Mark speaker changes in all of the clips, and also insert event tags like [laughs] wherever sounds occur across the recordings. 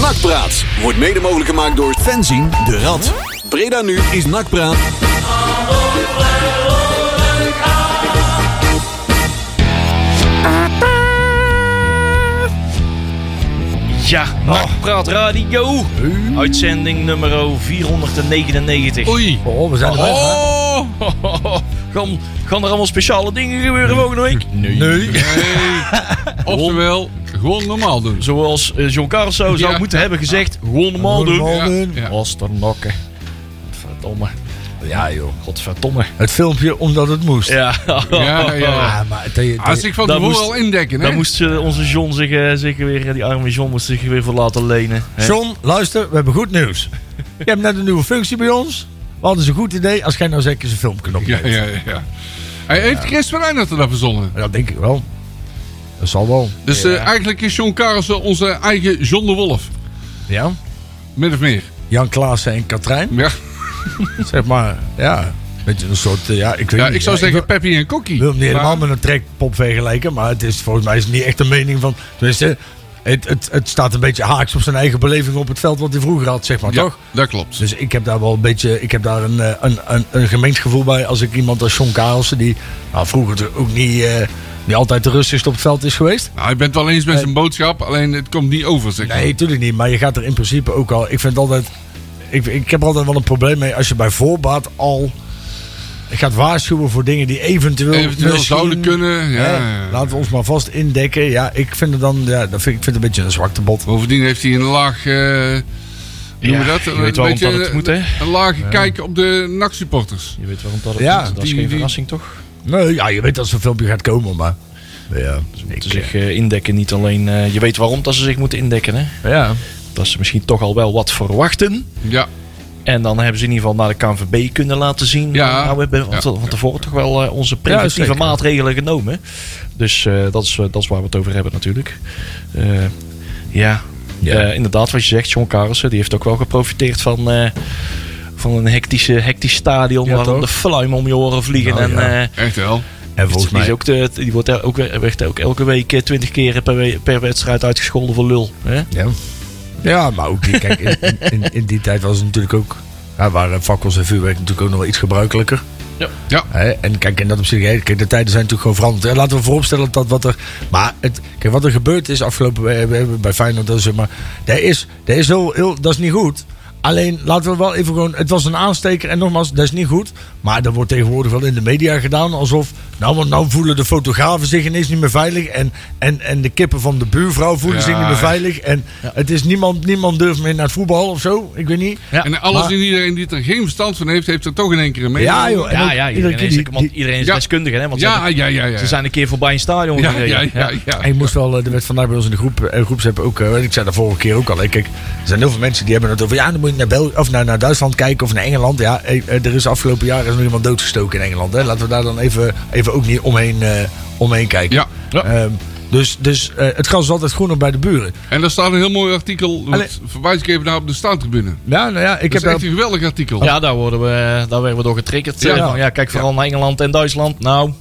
Speaker 1: Nakpraat wordt mede mogelijk gemaakt door Fenzin de Rad. Breda nu is Nakpraat.
Speaker 2: Ja, Nakpraat Radio. Uitzending nummer 499.
Speaker 3: Oei.
Speaker 4: Oh, we zijn er bijna.
Speaker 3: Oh.
Speaker 2: Gaan, gaan er allemaal speciale dingen gebeuren volgende week?
Speaker 3: Nee. Oh. Oftewel, gewoon normaal doen.
Speaker 2: Zoals eh, John Carlso zou
Speaker 3: Ja.
Speaker 2: moeten hebben gezegd. Gewoon normaal
Speaker 4: Gewoon
Speaker 2: doen.
Speaker 4: normaal. Alden.
Speaker 3: ja.
Speaker 2: Was er nokken. Verdomme.
Speaker 4: Ja, joh.
Speaker 2: Godverdomme.
Speaker 4: Het filmpje omdat het moest.
Speaker 2: Ja. [laughs]
Speaker 3: Ja, ja.
Speaker 4: Ah, maar die- die-
Speaker 3: Als ik van
Speaker 2: Daar
Speaker 3: tevoren
Speaker 2: moest-
Speaker 3: al indekken, hè?
Speaker 2: Dan moest eh, onze John zich, eh, zich weer, eh, die arme John moest zich weer voor laten lenen. hè.
Speaker 4: John, luister, we hebben goed
Speaker 3: [laughs]
Speaker 4: nieuws. Je hebt net een nieuwe functie bij ons. We hadden een goed idee als jij nou zeker zijn filmknop
Speaker 3: Ja,
Speaker 4: neemt.
Speaker 3: ja, ja. Hij heeft Chris van Eijnaerten dat verzonnen.
Speaker 4: Dat denk ik wel. Dat zal wel.
Speaker 3: Dus eh, eigenlijk is John Karelsen onze eigen John de Wolf.
Speaker 4: Ja.
Speaker 3: Min of meer.
Speaker 4: Jan Klaassen en Katrijn.
Speaker 3: Ja,
Speaker 4: Zeg maar, ja. Beetje een soort, eh, ja, ik weet
Speaker 3: ja
Speaker 4: niet.
Speaker 3: ik zou
Speaker 4: Ja,
Speaker 3: zeggen
Speaker 4: wil-
Speaker 3: Peppy en
Speaker 4: Ik
Speaker 3: Kokkie.
Speaker 4: wil hem niet helemaal
Speaker 3: Maar-
Speaker 4: met een trekpop vergelijken, maar het is volgens mij is het niet echt een mening van. Tenminste, het, het, het staat een beetje haaks op zijn eigen beleving op het veld wat hij vroeger had, zeg maar,
Speaker 3: Ja,
Speaker 4: toch?
Speaker 3: dat klopt.
Speaker 4: Dus ik heb daar wel een beetje, ik heb daar een, eh, een, een, een gemengd gevoel bij als ik iemand als John Karelsen, die nou, vroeger toch ook niet, eh, niet altijd de rustigste op het veld is geweest.
Speaker 3: Nou, je bent wel eens met zijn boodschap, alleen het komt niet over, zeg maar.
Speaker 4: Nee, natuurlijk niet. Maar je gaat er in principe ook al. Ik vind altijd. Ik, ik heb er altijd wel een probleem mee als je bij voorbaat al. gaat waarschuwen voor dingen die eventueel.
Speaker 3: Eventueel
Speaker 4: misschien-
Speaker 3: zouden kunnen, ja.
Speaker 4: Hè, Laten we ons maar vast indekken. Ja, ik vind het dan. Ja, dat vind, ik vind het een beetje een zwakte bot.
Speaker 3: Bovendien heeft hij een laag... eh noemen we
Speaker 2: Ja,
Speaker 3: dat?
Speaker 2: je
Speaker 3: Een
Speaker 2: weet waarom
Speaker 3: beetje
Speaker 2: dat het
Speaker 3: een-
Speaker 2: moet, hè?
Speaker 3: Een lage kijk op de NAC-supporters.
Speaker 2: Je weet waarom dat het
Speaker 4: Ja,
Speaker 2: moet. Dat is
Speaker 3: die-
Speaker 2: geen
Speaker 3: die-
Speaker 2: verrassing toch?
Speaker 4: Nee, ja, je weet dat zo'n filmpje gaat komen, maar. Ja,
Speaker 2: Ze zich eh, indekken niet alleen... eh, je weet waarom dat ze zich moeten indekken hè.
Speaker 4: ja.
Speaker 2: Dat ze misschien toch al wel wat verwachten.
Speaker 3: Ja,
Speaker 2: En dan hebben ze in ieder geval naar de KNVB kunnen laten zien.
Speaker 3: Ja.
Speaker 2: eh, Nou, we hebben van
Speaker 3: Ja.
Speaker 2: te- van tevoren toch wel eh, onze preventieve
Speaker 4: zeker.
Speaker 2: maatregelen genomen. Dus eh, dat, is, eh, dat is waar we het over hebben natuurlijk. Eh, ja,
Speaker 4: Ja.
Speaker 2: Eh, inderdaad wat je zegt. John Carlsen die heeft ook wel geprofiteerd van, eh, van een hectische, hectisch stadion.
Speaker 4: Ja,
Speaker 2: waar dan
Speaker 4: toch?
Speaker 2: de fluim om je oren vliegen.
Speaker 4: Nou,
Speaker 2: en,
Speaker 4: ja.
Speaker 2: eh,
Speaker 3: echt wel.
Speaker 4: En volgens
Speaker 2: die, is
Speaker 4: mij.
Speaker 2: ook de, die wordt er ook, werd ook elke week eh, twintig keer per, we- per wedstrijd uitgescholden voor lul. Hè?
Speaker 4: Ja. ja, maar ook. die- Kijk, in, in- in, in die tijd was het natuurlijk ook. Ja, waren fakkels en vuurwerk natuurlijk ook nog wel iets gebruikelijker.
Speaker 3: Ja,
Speaker 4: Hè, en kijk, in dat opzicht, hè, kijk, de tijden zijn natuurlijk gewoon veranderd. Hè, Laten we vooropstellen dat wat er. Maar het, kijk, wat er gebeurd is afgelopen we- we hebben bij Feyenoord, dat is, zeg maar, dat, is, dat, is heel, heel, dat is niet goed. Alleen laten we wel even gewoon. Het was een aansteker en nogmaals, dat is niet goed. Maar dat wordt tegenwoordig wel in de media gedaan alsof. Nou, want nou voelen de fotografen zich ineens niet meer veilig. En, en, en de kippen van de buurvrouw voelen
Speaker 3: Ja,
Speaker 4: zich niet meer
Speaker 3: ja.
Speaker 4: veilig. En het is niemand, niemand durft meer naar het voetbal of zo. Ik weet niet.
Speaker 3: en alles
Speaker 4: Maar-
Speaker 3: en iedereen die er geen verstand van heeft, heeft er toch in één keer een mening
Speaker 4: Ja, joh.
Speaker 3: over.
Speaker 4: En ook
Speaker 2: Ja, ja,
Speaker 4: iedere
Speaker 2: iedereen
Speaker 4: keer
Speaker 2: is,
Speaker 4: die-
Speaker 2: lekker- want iedereen is
Speaker 3: Ja.
Speaker 2: deskundige, hè? Want ze
Speaker 3: Ja,
Speaker 2: hebben-
Speaker 3: ja, ja, ja.
Speaker 2: Ze zijn een keer voorbij een stadion
Speaker 3: Ja,
Speaker 2: gereden.
Speaker 3: ja, ja, ja.
Speaker 4: En ik moest wel, eh, er werd vandaag bij ons in de groep, eh, groepsapp ook, eh, ik zei de vorige keer ook al, hè, kijk, er zijn heel veel mensen die hebben het over, ja, dan moet je naar, Bel of naar, naar Duitsland kijken of naar Engeland. Ja, eh, eh, er is afgelopen jaar is nog iemand doodgestoken in Engeland. Hè. Laten we daar dan even, even ook niet omheen, eh, omheen kijken.
Speaker 3: Ja, ja.
Speaker 4: Ehm, dus dus eh, het gras is altijd groener bij de buren.
Speaker 3: En daar staat een heel mooi artikel,
Speaker 4: Allee.
Speaker 3: dat verwijs ik even naar op de staantribune.
Speaker 4: Ja, nou ja,
Speaker 3: Dat
Speaker 4: ik heb
Speaker 3: is echt
Speaker 4: daar...
Speaker 3: een geweldig artikel.
Speaker 2: Ja, daar, worden we, eh, daar werden we door getriggerd.
Speaker 3: Ja. Oh,
Speaker 2: Ja, van, ja kijk vooral naar Engeland en Duitsland. Nou,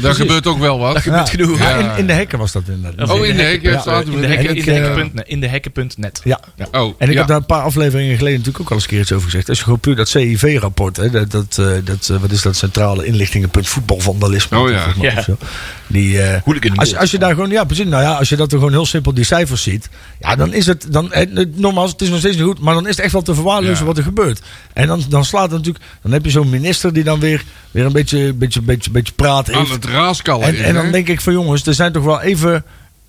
Speaker 3: Daar gebeurt ook wel wat.
Speaker 4: ja.
Speaker 2: genoeg.
Speaker 4: Ja,
Speaker 3: Ja.
Speaker 4: in, in de hekken was dat inderdaad.
Speaker 3: Oh, in de hekken
Speaker 4: Ja,
Speaker 3: staat
Speaker 2: in de
Speaker 4: En
Speaker 2: hekken-
Speaker 4: ik,
Speaker 2: in de
Speaker 4: eh,
Speaker 2: hekken.net. In de hekken.net.
Speaker 4: Ja.
Speaker 3: Oh,
Speaker 4: En ik
Speaker 3: ja.
Speaker 4: heb daar een paar afleveringen geleden natuurlijk ook al eens een keer iets over gezegd. Als je gewoon puur dat CIV-rapport, hè, dat, dat, eh, dat, eh, wat is dat, Centrale Inlichtingenpunt Voetbalvandalisme.
Speaker 3: Oh ja.
Speaker 4: volgens mij,
Speaker 2: Ja.
Speaker 4: of zo. Die, eh,
Speaker 2: Hooligan
Speaker 4: als, als je daar gewoon, ja precies, nou ja, als je dat er gewoon heel simpel die cijfers ziet. Ja, dan is het, dan, eh, nogmaals, het is nog steeds niet goed, maar dan is het echt wel te verwaarlozen
Speaker 3: Ja.
Speaker 4: wat er gebeurt. En dan, dan slaat het natuurlijk, dan heb je zo'n minister die dan weer, weer een beetje, beetje, beetje, beetje praat
Speaker 3: aan
Speaker 4: heeft.
Speaker 3: het raaskallen.
Speaker 4: En,
Speaker 3: is,
Speaker 4: en
Speaker 3: hè?
Speaker 4: dan denk ik van jongens, er zijn toch wel even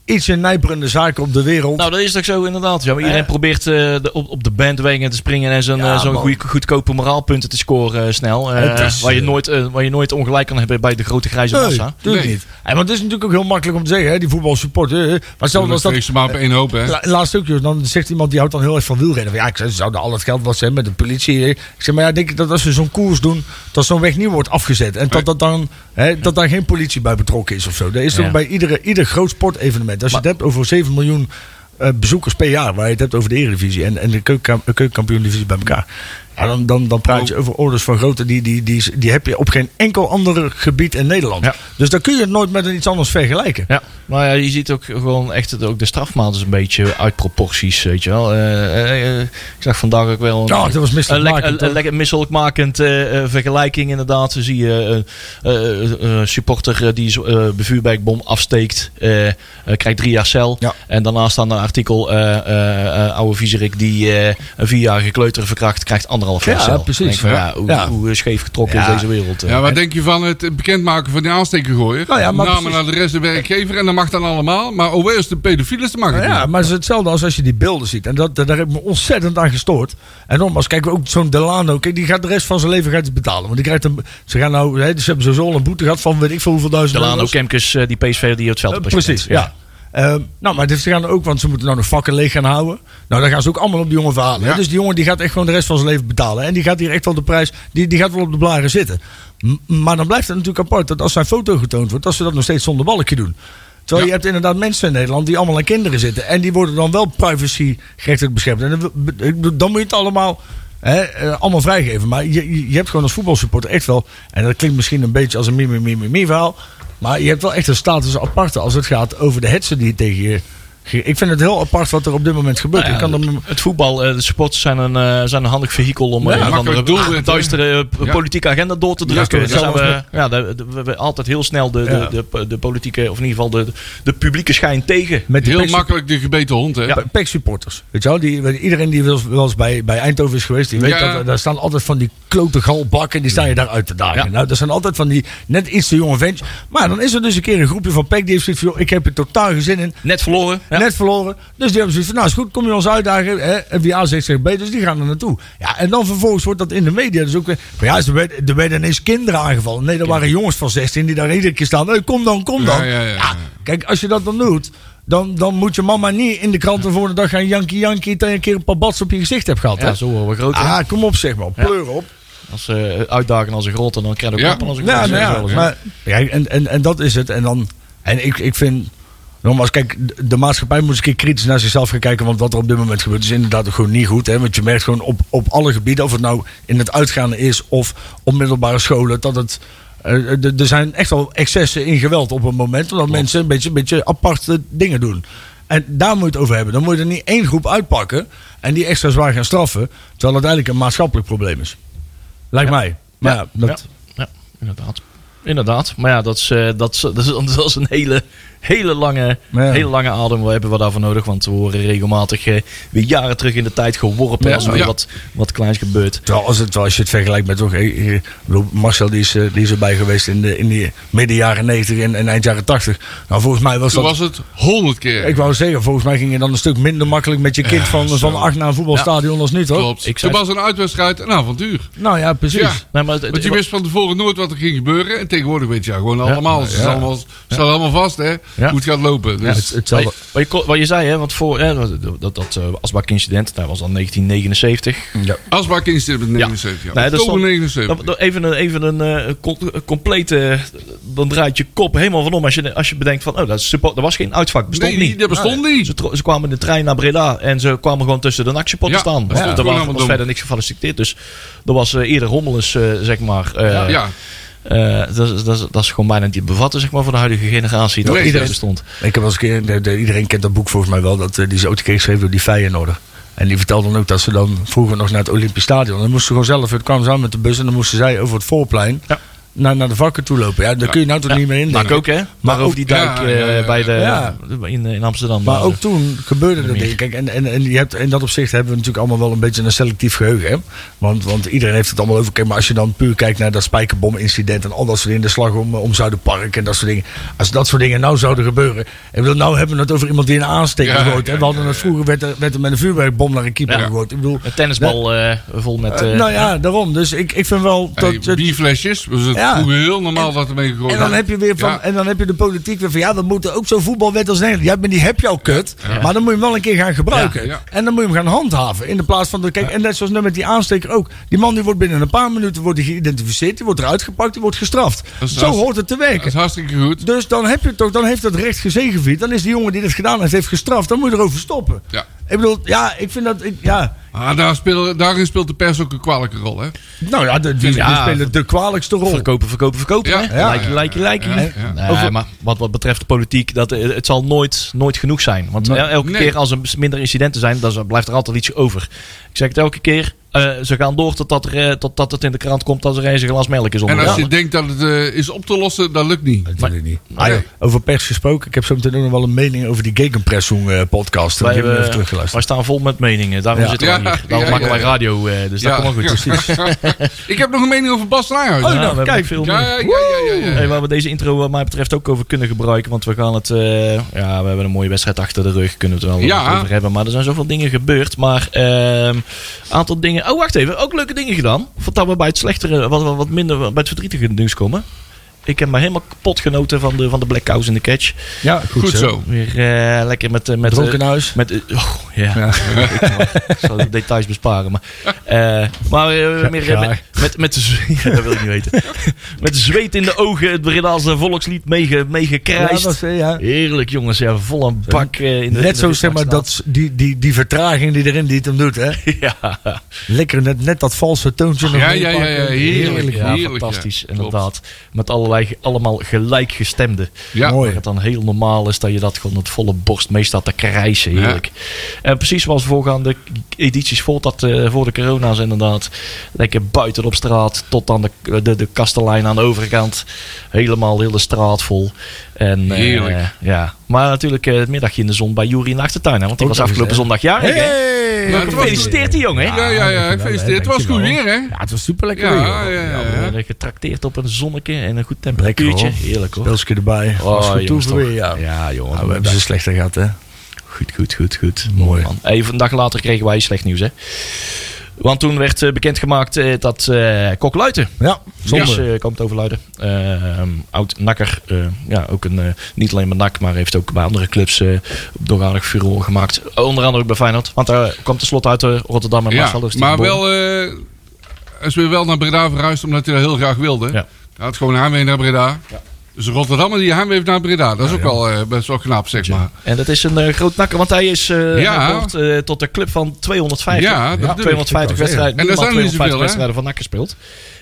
Speaker 4: ietsje nijperende zaken op de wereld.
Speaker 2: Nou, dat is toch zo inderdaad. Ja, maar iedereen
Speaker 4: Eh.
Speaker 2: probeert eh, de, op, op de bandwagon te springen en zo'n
Speaker 4: Ja,
Speaker 2: eh, zo'n
Speaker 4: man.
Speaker 2: goeie- goedkope moraalpunten te scoren eh, snel. eh,
Speaker 4: Het is,
Speaker 2: waar, je
Speaker 4: eh,
Speaker 2: nooit, eh, waar je nooit ongelijk kan hebben bij de grote grijze
Speaker 4: Nee,
Speaker 2: massa.
Speaker 4: natuurlijk
Speaker 3: Nee.
Speaker 4: niet. En want het is natuurlijk ook heel makkelijk om te zeggen, hè, die voetbalsupport. hè, hè. maar stel
Speaker 3: Dan
Speaker 4: als dat...
Speaker 3: steek ze maar op één hoop, hè?
Speaker 4: La- Laatst ook, joh, dan zegt iemand die houdt dan heel erg van wielrennen. Van, ja, ik zeg, ze zouden al het geld wat ze hebben met de politie. hè. Ik zeg, maar ja, denk ik dat als ze zo'n koers doen, dat zo'n weg niet wordt afgezet. En
Speaker 3: Nee.
Speaker 4: dat, dat, dan, hè, dat daar geen politie bij betrokken is of zo. Dat is toch
Speaker 2: Ja.
Speaker 4: bij iedere, ieder groot sportevenement. Als je het hebt over 7 miljoen eh, bezoekers per jaar, waar je het hebt over de Eredivisie en, en de keukenkampioen-divisie bij elkaar. Ja, dan, dan, dan praat
Speaker 2: Oh.
Speaker 4: je over orders van grootte. Die, die, die, die heb je op geen enkel ander gebied in Nederland.
Speaker 2: Ja.
Speaker 4: Dus dan kun je het nooit met iets anders vergelijken.
Speaker 2: Ja, maar ja, je ziet ook gewoon echt dat ook de strafmaat is een beetje uit proporties, weet je wel. Eh, eh, eh, ik zag vandaag ook wel een,
Speaker 4: Ja, dat was
Speaker 2: een, lek-
Speaker 4: misselijk.
Speaker 2: een, een lekker misselijkmakend eh, eh, vergelijking inderdaad. Dan zie je eh, eh, eh, supporter eh, die zo- eh, de vuurwerkbom afsteekt, eh, eh, krijgt drie jaar cel.
Speaker 4: Ja.
Speaker 2: En daarnaast staan een artikel, eh, eh, eh, oude viezerik die eh, een vierjarige kleuter verkracht, krijgt anderhalf jaar
Speaker 4: Ja,
Speaker 2: cel. Dan
Speaker 4: precies,
Speaker 2: denk ik van,
Speaker 4: ja.
Speaker 2: ja, hoe,
Speaker 4: Ja.
Speaker 2: hoe scheef getrokken
Speaker 4: Ja.
Speaker 2: is deze wereld. eh.
Speaker 3: Ja, wat denk je van het bekendmaken van die aanstekengooier?
Speaker 4: Nou ja, maar
Speaker 3: Namen
Speaker 4: precies.
Speaker 3: naar de rest de werkgever en dat mag dan allemaal. Maar OW is de pedofielus, dat mag het
Speaker 4: Nou ja,
Speaker 3: niet.
Speaker 4: maar het is hetzelfde als als je die beelden ziet. En dat, daar heb ik me ontzettend aan gestoord. En nogmaals, kijk, ook zo'n Delano, kijk, die gaat de rest van zijn leven gaat hij betalen. Want die krijgt een, ze, gaan nou, hè, ze hebben sowieso al een boete gehad van weet ik veel hoeveel duizend
Speaker 2: Delano
Speaker 4: euro's.
Speaker 2: Kemkes, eh, die PSV die het veld
Speaker 4: Eh,
Speaker 2: op
Speaker 4: precies, ja. Ehm, nou, maar dit- ze gaan ook, want ze moeten nou nog vakken leeg gaan houden. Nou, dan gaan ze ook allemaal op die jongen verhalen. hè.
Speaker 3: Ja.
Speaker 4: Dus die jongen die gaat echt gewoon de rest van zijn leven betalen. En die gaat hier echt wel de prijs, die, die gaat wel op de blaren zitten. M- maar dan blijft het natuurlijk apart dat als zijn foto getoond wordt, dat ze dat nog steeds zonder balkje doen. Terwijl
Speaker 3: Ja.
Speaker 4: je hebt inderdaad mensen in Nederland die allemaal aan kinderen zitten. En die worden dan wel privacyrechtelijk beschermd. En dan, wil- be- ik bedoel, dan moet je het allemaal, hè, eh, allemaal vrijgeven. Maar je, je- je hebt gewoon als voetbalsupporter echt wel... En dat klinkt misschien een beetje als een mimi-mimi-mimi verhaal. Maar je hebt wel echt een status aparte als het gaat over de hetsen die je tegen je... ge- Ik vind het heel apart wat er op dit moment gebeurt.
Speaker 2: Nou ja,
Speaker 4: ik kan dan,
Speaker 2: Het voetbal, eh, de sports zijn een, eh, zijn een handig vehikel om
Speaker 3: Ja,
Speaker 2: eh, een of andere
Speaker 3: makkelijk doelwit, hè?
Speaker 2: duistere eh,
Speaker 3: Ja.
Speaker 2: politieke agenda door te
Speaker 3: Ja,
Speaker 2: drukken.
Speaker 3: dat
Speaker 2: Daar
Speaker 3: is
Speaker 2: zijn
Speaker 3: hetzelfde
Speaker 2: we, ja, de- de- we- we altijd heel snel de,
Speaker 4: Ja.
Speaker 2: de, de, de politieke, of in ieder geval de, de publieke schijn tegen.
Speaker 4: met die
Speaker 3: Heel
Speaker 4: PEC
Speaker 3: makkelijk de gebeten hond, hè?
Speaker 2: Ja.
Speaker 4: Pe- PEC supporters. Weet je wel? Die, weet- iedereen die wel eens- wel eens bij, bij Eindhoven is geweest, die weet
Speaker 3: Ja.
Speaker 4: dat er- daar staan altijd van die klote galbakken. Die staan je daar uit te dagen. Nou, dat zijn altijd van die net iets te jonge ventjes. Maar dan is er dus een keer een groepje van PEC die heeft zoiets van, joh, ik heb er totaal geen zin in.
Speaker 2: Net verloren. Ja.
Speaker 4: Net verloren. Dus die hebben zoiets van, nou is goed, kom je ons uitdagen. Hè? Wie A zegt, zegt B, dus die gaan er naartoe. Ja, en dan vervolgens wordt dat in de media dus ook weer... Maar ja, er werden, er werden ineens kinderen aangevallen. Nee, dat waren jongens van 16 die daar iedere keer staan. Hey, kom dan, kom dan.
Speaker 3: Ja, ja, ja, ja.
Speaker 4: kijk, als je dat dan doet... Dan, dan moet je mama niet in de krant de volgende dag gaan jankie jankie... dat je een keer een paar bats op je gezicht hebt gehad.
Speaker 2: Ja,
Speaker 4: hè?
Speaker 2: zo worden we groter.
Speaker 4: Ah, kom op zeg maar. Pleur op.
Speaker 2: Als eh uitdagen als een grot en dan krijgen we
Speaker 3: Ja.
Speaker 2: klappen als een grot.
Speaker 4: Ja,
Speaker 2: Dat
Speaker 4: nou
Speaker 2: is
Speaker 4: ja,
Speaker 2: wel eens, hè.
Speaker 4: maar, kijk, en, en, en dat is het. En, dan, en ik, ik vind, nogmaals, kijk, de- de maatschappij moet eens een keer kritisch naar zichzelf gaan kijken. Want wat er op dit moment gebeurt is inderdaad ook gewoon niet goed. Hè? Want je merkt gewoon op, op alle gebieden, of het nou in het uitgaande is of op middelbare scholen, dat het. eh, d- er zijn echt wel excessen in geweld op een moment. Omdat mensen een beetje, een beetje aparte dingen doen. En daar moet je het over hebben. Dan moet je er niet één groep uitpakken. En die extra zwaar gaan straffen. Terwijl het eigenlijk een maatschappelijk probleem is. Lijkt mij. Maar ja, dat,
Speaker 2: Ja, ja, inderdaad. Inderdaad. Maar ja, dat is, eh, dat is, [laughs] dat is, dat is een hele, hele, lange,
Speaker 4: Ja.
Speaker 2: hele lange adem. Wat hebben we daarvoor nodig? Want we worden regelmatig eh, weer jaren terug in de tijd geworpen.
Speaker 4: Ja,
Speaker 2: als er weer
Speaker 3: ja.
Speaker 2: wat, wat kleins gebeurt.
Speaker 4: Terwijl als, het, terwijl als je het vergelijkt met toch, eh, eh, ik bedoel, Marcel die is, eh, die is erbij geweest in de in die midden jaren 90 en, en eind jaren 80. Nou, volgens mij was
Speaker 3: Toen
Speaker 4: dat.
Speaker 3: was het honderd keer.
Speaker 4: Ik wou zeggen, volgens mij ging je dan een stuk minder makkelijk met je kind van,
Speaker 3: zo.
Speaker 4: van acht naar een voetbalstadion als nu, toch?
Speaker 3: Klopt.
Speaker 2: Ik
Speaker 3: Toen
Speaker 2: zei-
Speaker 3: was een uitwedstrijd een avontuur.
Speaker 4: Nou ja, precies.
Speaker 3: Ja.
Speaker 2: Nee, maar het-
Speaker 4: Eh,
Speaker 3: Want je wist van tevoren nooit wat er ging gebeuren. En tegenwoordig weet je ja, gewoon allemaal. Ze staan allemaal, ze staan allemaal vast hè,
Speaker 2: Ja.
Speaker 3: hoe het gaat lopen. Dus,
Speaker 4: Ja, het- hetzelfde.
Speaker 2: Hey, Wat je, kon- wat je zei, hè, want voor eh, dat, dat, dat eh, asbakincident, dat was dan 1979.
Speaker 4: Ja.
Speaker 3: Asbak instelt met 79. Ja.
Speaker 2: Nee, dat is
Speaker 3: Oktober
Speaker 2: dan-
Speaker 3: 79.
Speaker 2: dan- dan even een, even een eh, com- eh, complete. Dan draait je kop helemaal van om als je, als je bedenkt van. Oh, dat, is suppo- dat was geen uitvak. Bestond
Speaker 3: Nee,
Speaker 2: niet.
Speaker 3: dat bestond
Speaker 2: Nee.
Speaker 3: niet.
Speaker 2: Ze, tro- ze kwamen in de trein naar Breda en ze kwamen gewoon tussen de nachtsupport
Speaker 3: Ja,
Speaker 2: staan.
Speaker 3: dat
Speaker 2: Ja, er
Speaker 3: stond gewoon
Speaker 2: was,
Speaker 3: helemaal
Speaker 2: was
Speaker 3: dom.
Speaker 2: verder niks gefaciliteerd. Dus er was eh, eerder rommelens, eh, zeg maar. eh,
Speaker 3: ja.
Speaker 2: eh, dat, is- dat, is- dat is gewoon bijna niet te bevatten, zeg maar, voor de huidige generatie. Dat
Speaker 3: Nee,
Speaker 2: iedereen
Speaker 3: dat-
Speaker 2: bestond.
Speaker 4: Ik heb wel eens een keer, de- de- iedereen kent dat boek volgens mij wel, dat, eh, die is ooit een keer geschreven door die Feyenoorder. En die vertelde dan ook dat ze dan vroeger nog naar het Olympisch Stadion. Dan moesten ze gewoon zelf, het kwam samen met de bus en dan moesten zij over het voorplein
Speaker 2: Ja.
Speaker 4: naar, naar de vakken toe lopen. Ja, daar kun je nou toch
Speaker 2: Ja.
Speaker 4: niet meer in.
Speaker 2: Maar
Speaker 4: denken.
Speaker 2: ook, hè? Maar over die
Speaker 3: ook-
Speaker 2: dijk
Speaker 3: ja, ja,
Speaker 2: eh,
Speaker 3: ja,
Speaker 2: bij de,
Speaker 4: ja.
Speaker 2: in, in Amsterdam. eh,
Speaker 4: Maar
Speaker 2: daar.
Speaker 4: ook toen gebeurde dat
Speaker 2: meer.
Speaker 4: ding. Kijk, en, en, en je hebt, in dat opzicht hebben we natuurlijk allemaal wel een beetje een selectief geheugen. Hè? Want, want iedereen heeft het allemaal over. Kijk, maar als je dan puur kijkt naar dat spijkerbom-incident en al dat soort dingen, de slag om, eh, om Zuiderpark en dat soort dingen. Als dat soort dingen nou zouden gebeuren. Ik bedoel, nou hebben we het over iemand die een aansteker
Speaker 3: Ja,
Speaker 4: gooit. Hè?
Speaker 3: ja,
Speaker 4: We hadden het vroeger, werd er, werd er met een vuurwerkbom naar een keeper
Speaker 2: Ja.
Speaker 4: gegooid. Ik bedoel,
Speaker 2: Een tennisbal eh, vol met.
Speaker 4: eh,
Speaker 2: eh,
Speaker 4: nou ja, daarom. Dus ik, ik vind wel dat.
Speaker 3: Hey,
Speaker 4: het-
Speaker 3: bierflesjes. Was het
Speaker 4: Ja.
Speaker 3: vroeger heel normaal dat ermee gegooid
Speaker 4: en dan
Speaker 3: werd.
Speaker 4: heb je weer van,
Speaker 3: Ja.
Speaker 4: en dan heb je de politiek weer van ja, we moeten ook zo'n voetbalwet als Nederland. Ja, maar die heb je al kut.
Speaker 2: Ja.
Speaker 4: Maar dan moet je hem wel een keer gaan gebruiken.
Speaker 3: Ja, ja.
Speaker 4: En dan moet je hem gaan handhaven. In de plaats van de kijk, en net zoals net met die aansteker ook. Die man die wordt binnen een paar minuten wordt die geïdentificeerd, die wordt eruit gepakt, die wordt gestraft.
Speaker 3: Dat is
Speaker 4: Zo
Speaker 3: hartst-
Speaker 4: hoort het te
Speaker 3: Dat is
Speaker 4: werken.
Speaker 3: hartstikke goed.
Speaker 4: Dus dan heb je toch, dan heeft dat recht gezegevierd. Dan is die jongen die dit gedaan heeft, heeft gestraft. Dan moet je erover stoppen.
Speaker 3: Ja.
Speaker 4: Ik bedoel, ja, ik vind dat, ik, ja.
Speaker 3: Ah, daar speel, daarin speelt de pers ook een kwalijke rol, hè?
Speaker 4: Nou ja, de, die, die
Speaker 2: Ja.
Speaker 4: spelen de kwalijkste rol.
Speaker 2: Verkopen, verkopen, verkopen.
Speaker 3: Ja.
Speaker 2: hè?
Speaker 3: Ja,
Speaker 2: Lijkie,
Speaker 3: ja,
Speaker 2: lijkie, lijkie.
Speaker 3: ja, ja.
Speaker 2: Nee,
Speaker 4: Over-
Speaker 2: maar wat, wat betreft de politiek, dat, eh, het zal nooit, nooit genoeg zijn. Want el- elke
Speaker 3: Nee.
Speaker 2: keer als er minder incidenten zijn, dan z- blijft er altijd iets over. Ik zeg het elke keer. eh, ze gaan door totdat, er, eh, totdat het in de krant komt dat er eens een glas melk is
Speaker 3: En als
Speaker 2: ondergaan.
Speaker 3: je denkt dat het eh, is op te lossen, dat lukt niet.
Speaker 4: Natuurlijk niet.
Speaker 3: Nee.
Speaker 4: Ah, ja, Over pers gesproken, ik heb zo meteen ook nog wel een mening over die Gegenpressung eh, podcast.
Speaker 2: Wij,
Speaker 4: Die hebben we even
Speaker 2: hebben- wij
Speaker 4: teruggeluisterd.
Speaker 2: staan vol met meningen. Daarom
Speaker 4: Ja.
Speaker 2: zitten we
Speaker 3: Ja,
Speaker 2: hier. Daarom
Speaker 3: ja,
Speaker 2: maken
Speaker 3: ja,
Speaker 2: wij
Speaker 3: ja.
Speaker 2: radio. eh, dus dat komt wel goed.
Speaker 3: [laughs] ik heb nog een mening over Bas Nijhuis.
Speaker 2: Ja, we
Speaker 4: nou,
Speaker 2: hebben
Speaker 4: kijk.
Speaker 2: nog veel
Speaker 3: ja,
Speaker 2: meer.
Speaker 3: ja, ja, ja, ja, ja.
Speaker 2: Hey, waar we deze intro wat mij betreft ook over kunnen gebruiken. Want we gaan het... eh, ja, we hebben een mooie wedstrijd achter de rug. Kunnen we het er wel
Speaker 3: Ja.
Speaker 2: wat over hebben. Maar er zijn zoveel dingen gebeurd. Maar een aantal dingen... Oh, wacht even. Ook leuke dingen gedaan. Voordat we bij het slechtere... Wat, wat- wat minder bij het verdrietige nieuws komen. Ik heb me helemaal kapot genoten van de, van de Black Cows in the Catch.
Speaker 4: Ja, goed,
Speaker 3: Goed zo.
Speaker 2: Weer eh, lekker met... eh, met eh,
Speaker 4: Dronkenhuis.
Speaker 2: met, eh, oh, ja.
Speaker 4: Ja.
Speaker 2: ik
Speaker 4: [laughs]
Speaker 2: zal de details besparen. Maar, eh, maar eh,
Speaker 4: Ja,
Speaker 2: meer, eh,
Speaker 4: ja.
Speaker 2: met, met, met de [laughs] zweet, dat wil ik niet weten. Met zweet in de ogen, het Bredaanse volkslied meege-
Speaker 4: Ja,
Speaker 2: meegekrijst.
Speaker 4: dat is, eh, ja.
Speaker 2: Heerlijk jongens, ja, vol een bak. eh, in de, in
Speaker 4: Net
Speaker 2: de
Speaker 4: zo zeg maar,
Speaker 2: Witwachtstraat.
Speaker 4: dat, die, die, die vertraging die erin die het hem doet. Hè?
Speaker 2: [laughs] Ja,
Speaker 4: Lekker net, net dat valse toontje. nog
Speaker 3: Ja, ja, ja,
Speaker 4: meepakken.
Speaker 3: ja, heerlijk.
Speaker 2: ja,
Speaker 3: heerlijk,
Speaker 2: fantastisch,
Speaker 3: ja.
Speaker 2: inderdaad. Met allerlei, ge- allemaal gelijkgestemden.
Speaker 3: Ja.
Speaker 4: Mooi.
Speaker 2: Waar het dan heel normaal is dat je dat gewoon het volle borst mee staat te krijsen. Heerlijk. En precies zoals voorgaande edities voor, dat, eh, voor de corona's inderdaad. Lekker buiten op straat tot aan de, de, de kastelein aan de overkant. Helemaal heel de straat vol. En, eh,
Speaker 3: Heerlijk.
Speaker 2: ja. Maar natuurlijk eh, het middagje in de zon bij Jury in de achtertuin. Hè, want die
Speaker 4: Ook
Speaker 2: was
Speaker 4: nog eens,
Speaker 2: afgelopen
Speaker 4: hè?
Speaker 2: zondag jarig. hè?
Speaker 4: Hey! Ah,
Speaker 3: Nou, het was-
Speaker 2: Gefeliciteerd die jongen. hè?
Speaker 3: Ja, ja, ja, ik
Speaker 4: dankjewel,
Speaker 3: feliciteer.
Speaker 4: hè,
Speaker 3: Het was goed
Speaker 4: dankjewel.
Speaker 3: weer, hè?
Speaker 4: Ja, het was super lekker weer.
Speaker 3: Ja, ja, ja.
Speaker 2: We
Speaker 3: ja.
Speaker 2: worden eh, getrakteerd op een zonnetje en een goed
Speaker 4: Lekker
Speaker 2: temperatuurtje.
Speaker 4: hoor.
Speaker 2: Heerlijk hoor.
Speaker 4: Pilsje erbij. was goed
Speaker 2: jongens,
Speaker 4: toeven
Speaker 2: toch.
Speaker 4: weer, ja.
Speaker 2: Ja, jongen.
Speaker 4: Nou, we hebben ze slechter gehad, hè?
Speaker 2: Goed, goed, goed, goed.
Speaker 4: Mooi.
Speaker 2: Man. Even een dag later kregen wij slecht nieuws, hè. Want toen werd eh, bekendgemaakt eh, dat eh Kok Luiten,
Speaker 4: Ja, zonde.
Speaker 2: dus, eh, komt over Luiten, eh, oud nakker, eh, ja, ook een, eh, niet alleen maar nak, maar heeft ook bij andere clubs eh nog aardig furore gemaakt. Onder andere ook bij Feyenoord, want daar komt tenslotte uit eh, Rotterdam en
Speaker 3: Ja,
Speaker 2: Marcel is die
Speaker 3: maar
Speaker 2: geboren.
Speaker 3: wel... eh hij is weer wel naar Breda verhuisd, omdat hij dat heel graag wilde.
Speaker 2: Ja.
Speaker 3: Hij had gewoon Haarwee naar Breda. Dus Rotterdammer die Haarwee heeft naar Breda. Dat is ook wel eh, best wel knap, zeg maar.
Speaker 2: En dat is een eh, groot nakker, want hij is eh
Speaker 3: Ja.
Speaker 2: behoort, eh, tot de club van 250.
Speaker 3: Ja, dat bedoel ik.
Speaker 2: 250
Speaker 4: Ik wou
Speaker 2: wedstrijden.
Speaker 4: zeggen.
Speaker 3: En
Speaker 2: En
Speaker 3: daar zijn er niet
Speaker 2: 250
Speaker 3: zoveel, hè?
Speaker 2: wedstrijden van NAC gespeeld.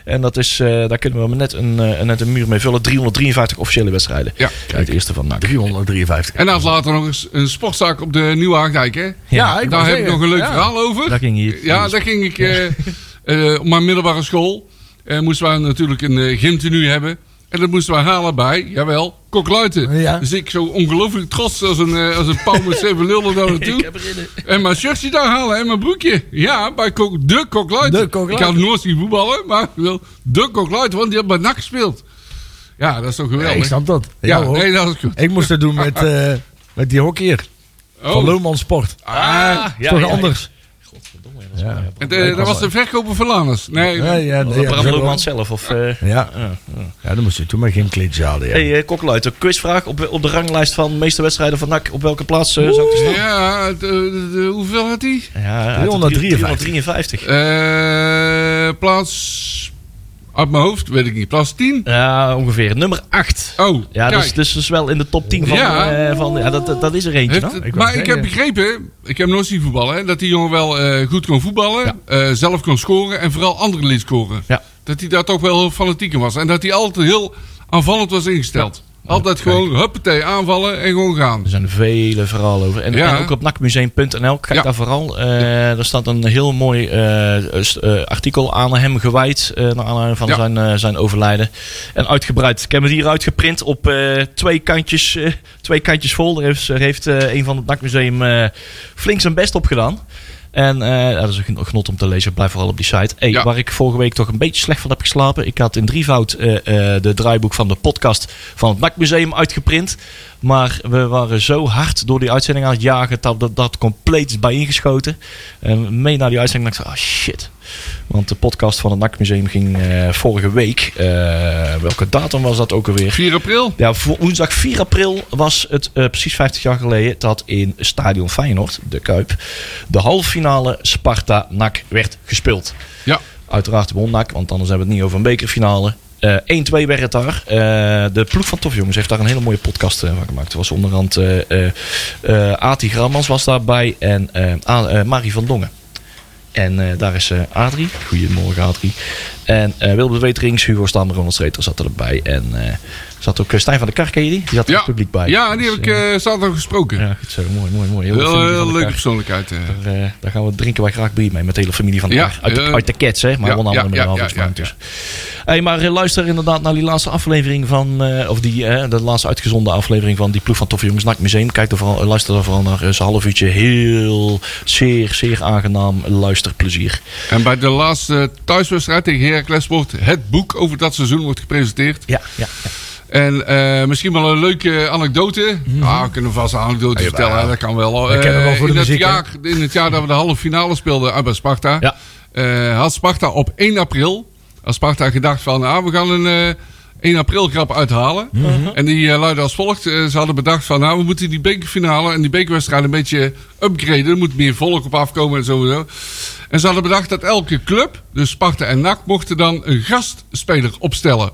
Speaker 2: En dat is, eh, daar kunnen we maar net een, eh, net een muur mee vullen. 353 officiële wedstrijden.
Speaker 3: Ja.
Speaker 2: Uit de eerste van NAC.
Speaker 4: 353.
Speaker 3: En hij had later nog eens een sportzaak op de Nieuwe Haagdijk, hè?
Speaker 2: Ja,
Speaker 3: Daar
Speaker 4: ik wou
Speaker 3: heb ik
Speaker 4: zeggen,
Speaker 3: nog een leuk
Speaker 4: ja.
Speaker 3: verhaal over.
Speaker 2: Daar ging je.
Speaker 3: Ja, daar ging ik eh, eh, op mijn middelbare school. eh moesten wij natuurlijk een eh, gymtenu hebben. En dat moesten wij halen bij, jawel, kokluiten.
Speaker 4: Ja.
Speaker 3: Dus ik zo ongelooflijk trots als een, eh, als een pauw met zeven lullen
Speaker 2: Ik
Speaker 3: daar naartoe.
Speaker 2: heb erin.
Speaker 3: En mijn shirtje daar halen en mijn broekje. Ja, bij kok, de kokluiten.
Speaker 4: De Kok
Speaker 3: Ik
Speaker 4: Luiten.
Speaker 3: had nooit zien voetballen, maar wel de kokluiten, want die had bij NAC gespeeld. Ja, dat is toch
Speaker 4: Ja,
Speaker 3: geweldig.
Speaker 4: ik snap dat. Ja,
Speaker 3: ja,
Speaker 4: hoor.
Speaker 3: nee, dat is goed.
Speaker 4: Ik moest dat doen met, eh, met die hockeyer
Speaker 3: Oh.
Speaker 4: van Looman Sport.
Speaker 3: Ah,
Speaker 4: Is toch anders?
Speaker 3: en, eh, dat was de verkoper van Lanus. Nee,
Speaker 4: Ja, ja, nee, ja,
Speaker 2: Bram
Speaker 4: zo-
Speaker 2: Loemans zelf. Of, eh,
Speaker 4: Ja. ja, dan moest je toen maar geen klitje halen. Ja.
Speaker 2: Hey, eh, Kok Luiten, quizvraag op, op de ranglijst van de meeste wedstrijden van NAC. Op welke plaats eh, zou ik staan?
Speaker 3: Ja, de- de- de- hoeveel had hij?
Speaker 2: Ja, uit de
Speaker 4: 353.
Speaker 2: 353.
Speaker 3: Eh, plaats. Uit mijn hoofd weet ik niet. Plaats 10.
Speaker 2: Ja, ongeveer. Nummer 8.
Speaker 3: Oh,
Speaker 2: Ja,
Speaker 3: kijk.
Speaker 2: dus, dus dus wel in de top 10 van...
Speaker 3: Ja.
Speaker 2: Ja, van, ja dat, dat- dat is er eentje.
Speaker 3: Heeft-
Speaker 2: dan.
Speaker 4: Ik wou
Speaker 3: maar ik heb
Speaker 4: zeggen.
Speaker 3: begrepen, ik heb nooit zien voetballen, hè, dat die jongen wel eh, goed kon voetballen,
Speaker 2: Ja.
Speaker 3: eh, zelf kon scoren en vooral anderen liet scoren.
Speaker 2: Ja.
Speaker 3: Dat hij daar toch wel heel fanatiek in was. En dat hij altijd heel aanvallend was ingesteld. Altijd gewoon, huppatee, aanvallen en gewoon gaan.
Speaker 2: Er zijn vele verhalen over. En,
Speaker 3: Ja.
Speaker 2: en ook op nakmuseum.nl. Kijk
Speaker 3: Ja.
Speaker 2: daar vooral. eh daar staat een heel mooi eh, s- eh, artikel aan hem gewijd. eh, naar aanleiding van
Speaker 3: Ja.
Speaker 2: zijn, eh, zijn overlijden. En uitgebreid. Ik heb het hier uitgeprint op eh, twee, kantjes, eh, twee kantjes vol. Daar heeft, er heeft eh, een van het nakmuseum eh, flink zijn best op gedaan. En eh, ja, dat is een gen- genot om te lezen. Blijf vooral op die site. Hey,
Speaker 3: Ja.
Speaker 2: Waar ik vorige week toch een beetje slecht van heb geslapen. Ik had in drievoud eh eh, de draaiboek van de podcast van het NAC-museum uitgeprint. Maar we waren zo hard door die uitzending aan het jagen dat dat, dat compleet is bijeengeschoten. En mee naar die uitzending dacht ik, ah shit. Want de podcast van het NAC-museum ging eh, vorige week. eh, welke datum was dat ook alweer?
Speaker 3: 4 april.
Speaker 2: Ja, voor woensdag 4 april was het eh, precies 50 jaar geleden dat in Stadion Feyenoord, de Kuip, de halve finale Sparta-NAC werd gespeeld.
Speaker 3: Ja.
Speaker 2: Uiteraard won NAC, want anders hebben we het niet over een bekerfinale. Eh 1-2 werd het daar. Eh, de ploeg van Tof Jongens heeft daar een hele mooie podcast eh, van gemaakt. Er was onderhand eh eh eh, Ati Grammans was daarbij en eh, A- eh, Marie van Dongen. En eh, daar is eh, Adrie. Goedemorgen, Adrie. En eh Wilbert Weterings, Hugo Stam, Ronald Streeter zaten erbij. En eh, zat ook eh, Stijn van der Kar, ken je die? Die zat er in
Speaker 3: Ja,
Speaker 2: het publiek bij.
Speaker 3: ja die
Speaker 2: Dus,
Speaker 3: heb ik
Speaker 2: eh,
Speaker 3: eh, zaterdag gesproken.
Speaker 2: ja, goed zo. Mooi, mooi, mooi. Heel
Speaker 3: Heel
Speaker 2: veel
Speaker 3: eh,
Speaker 2: van
Speaker 3: leuke
Speaker 2: elkaar.
Speaker 3: persoonlijkheid. eh.
Speaker 2: Daar, eh, daar gaan we drinken wij graag bier mee met de hele familie van
Speaker 3: Ja,
Speaker 2: elkaar. uit, de-
Speaker 3: eh,
Speaker 2: uit de Cats, hè? Maar
Speaker 3: ja,
Speaker 2: onder andere
Speaker 3: ja,
Speaker 2: met
Speaker 3: ja,
Speaker 2: een
Speaker 3: ja, ja,
Speaker 2: tussen. Hey, maar eh, luister inderdaad naar die laatste aflevering van, eh, of die, eh, de laatste uitgezonden aflevering van die ploeg van Toffe Jongens Nacht Museum. Kijk er vooral, eh, luister er vooral naar. eh, is een half uurtje heel zeer, zeer aangenaam luisterplezier.
Speaker 3: En bij de laatste thuiswedstrijd tegen Heracles wordt het boek over dat seizoen wordt gepresenteerd.
Speaker 2: Ja, ja.
Speaker 3: En eh, misschien wel een leuke anekdote. Ah, we kunnen vast een anekdote vertellen. hè, Dat kan wel.
Speaker 4: Mhm. We
Speaker 3: Eh,
Speaker 4: kennen wel voor
Speaker 3: in,
Speaker 4: de
Speaker 3: het
Speaker 4: muziek, hè?
Speaker 3: jaar, in het jaar dat we de halve finale speelden uit bij Sparta.
Speaker 2: Ja.
Speaker 3: eh, had Sparta op 1 april. Had Sparta gedacht van ah, we gaan een eh, 1 april grap uithalen. En die eh, luidde als volgt. Eh, ze hadden bedacht van nou we moeten die bekerfinale en die bekerwedstrijd een beetje upgraden. Er moet meer volk op afkomen en sowieso. En ze hadden bedacht dat elke club, dus Sparta en NAC, mochten dan een gastspeler opstellen.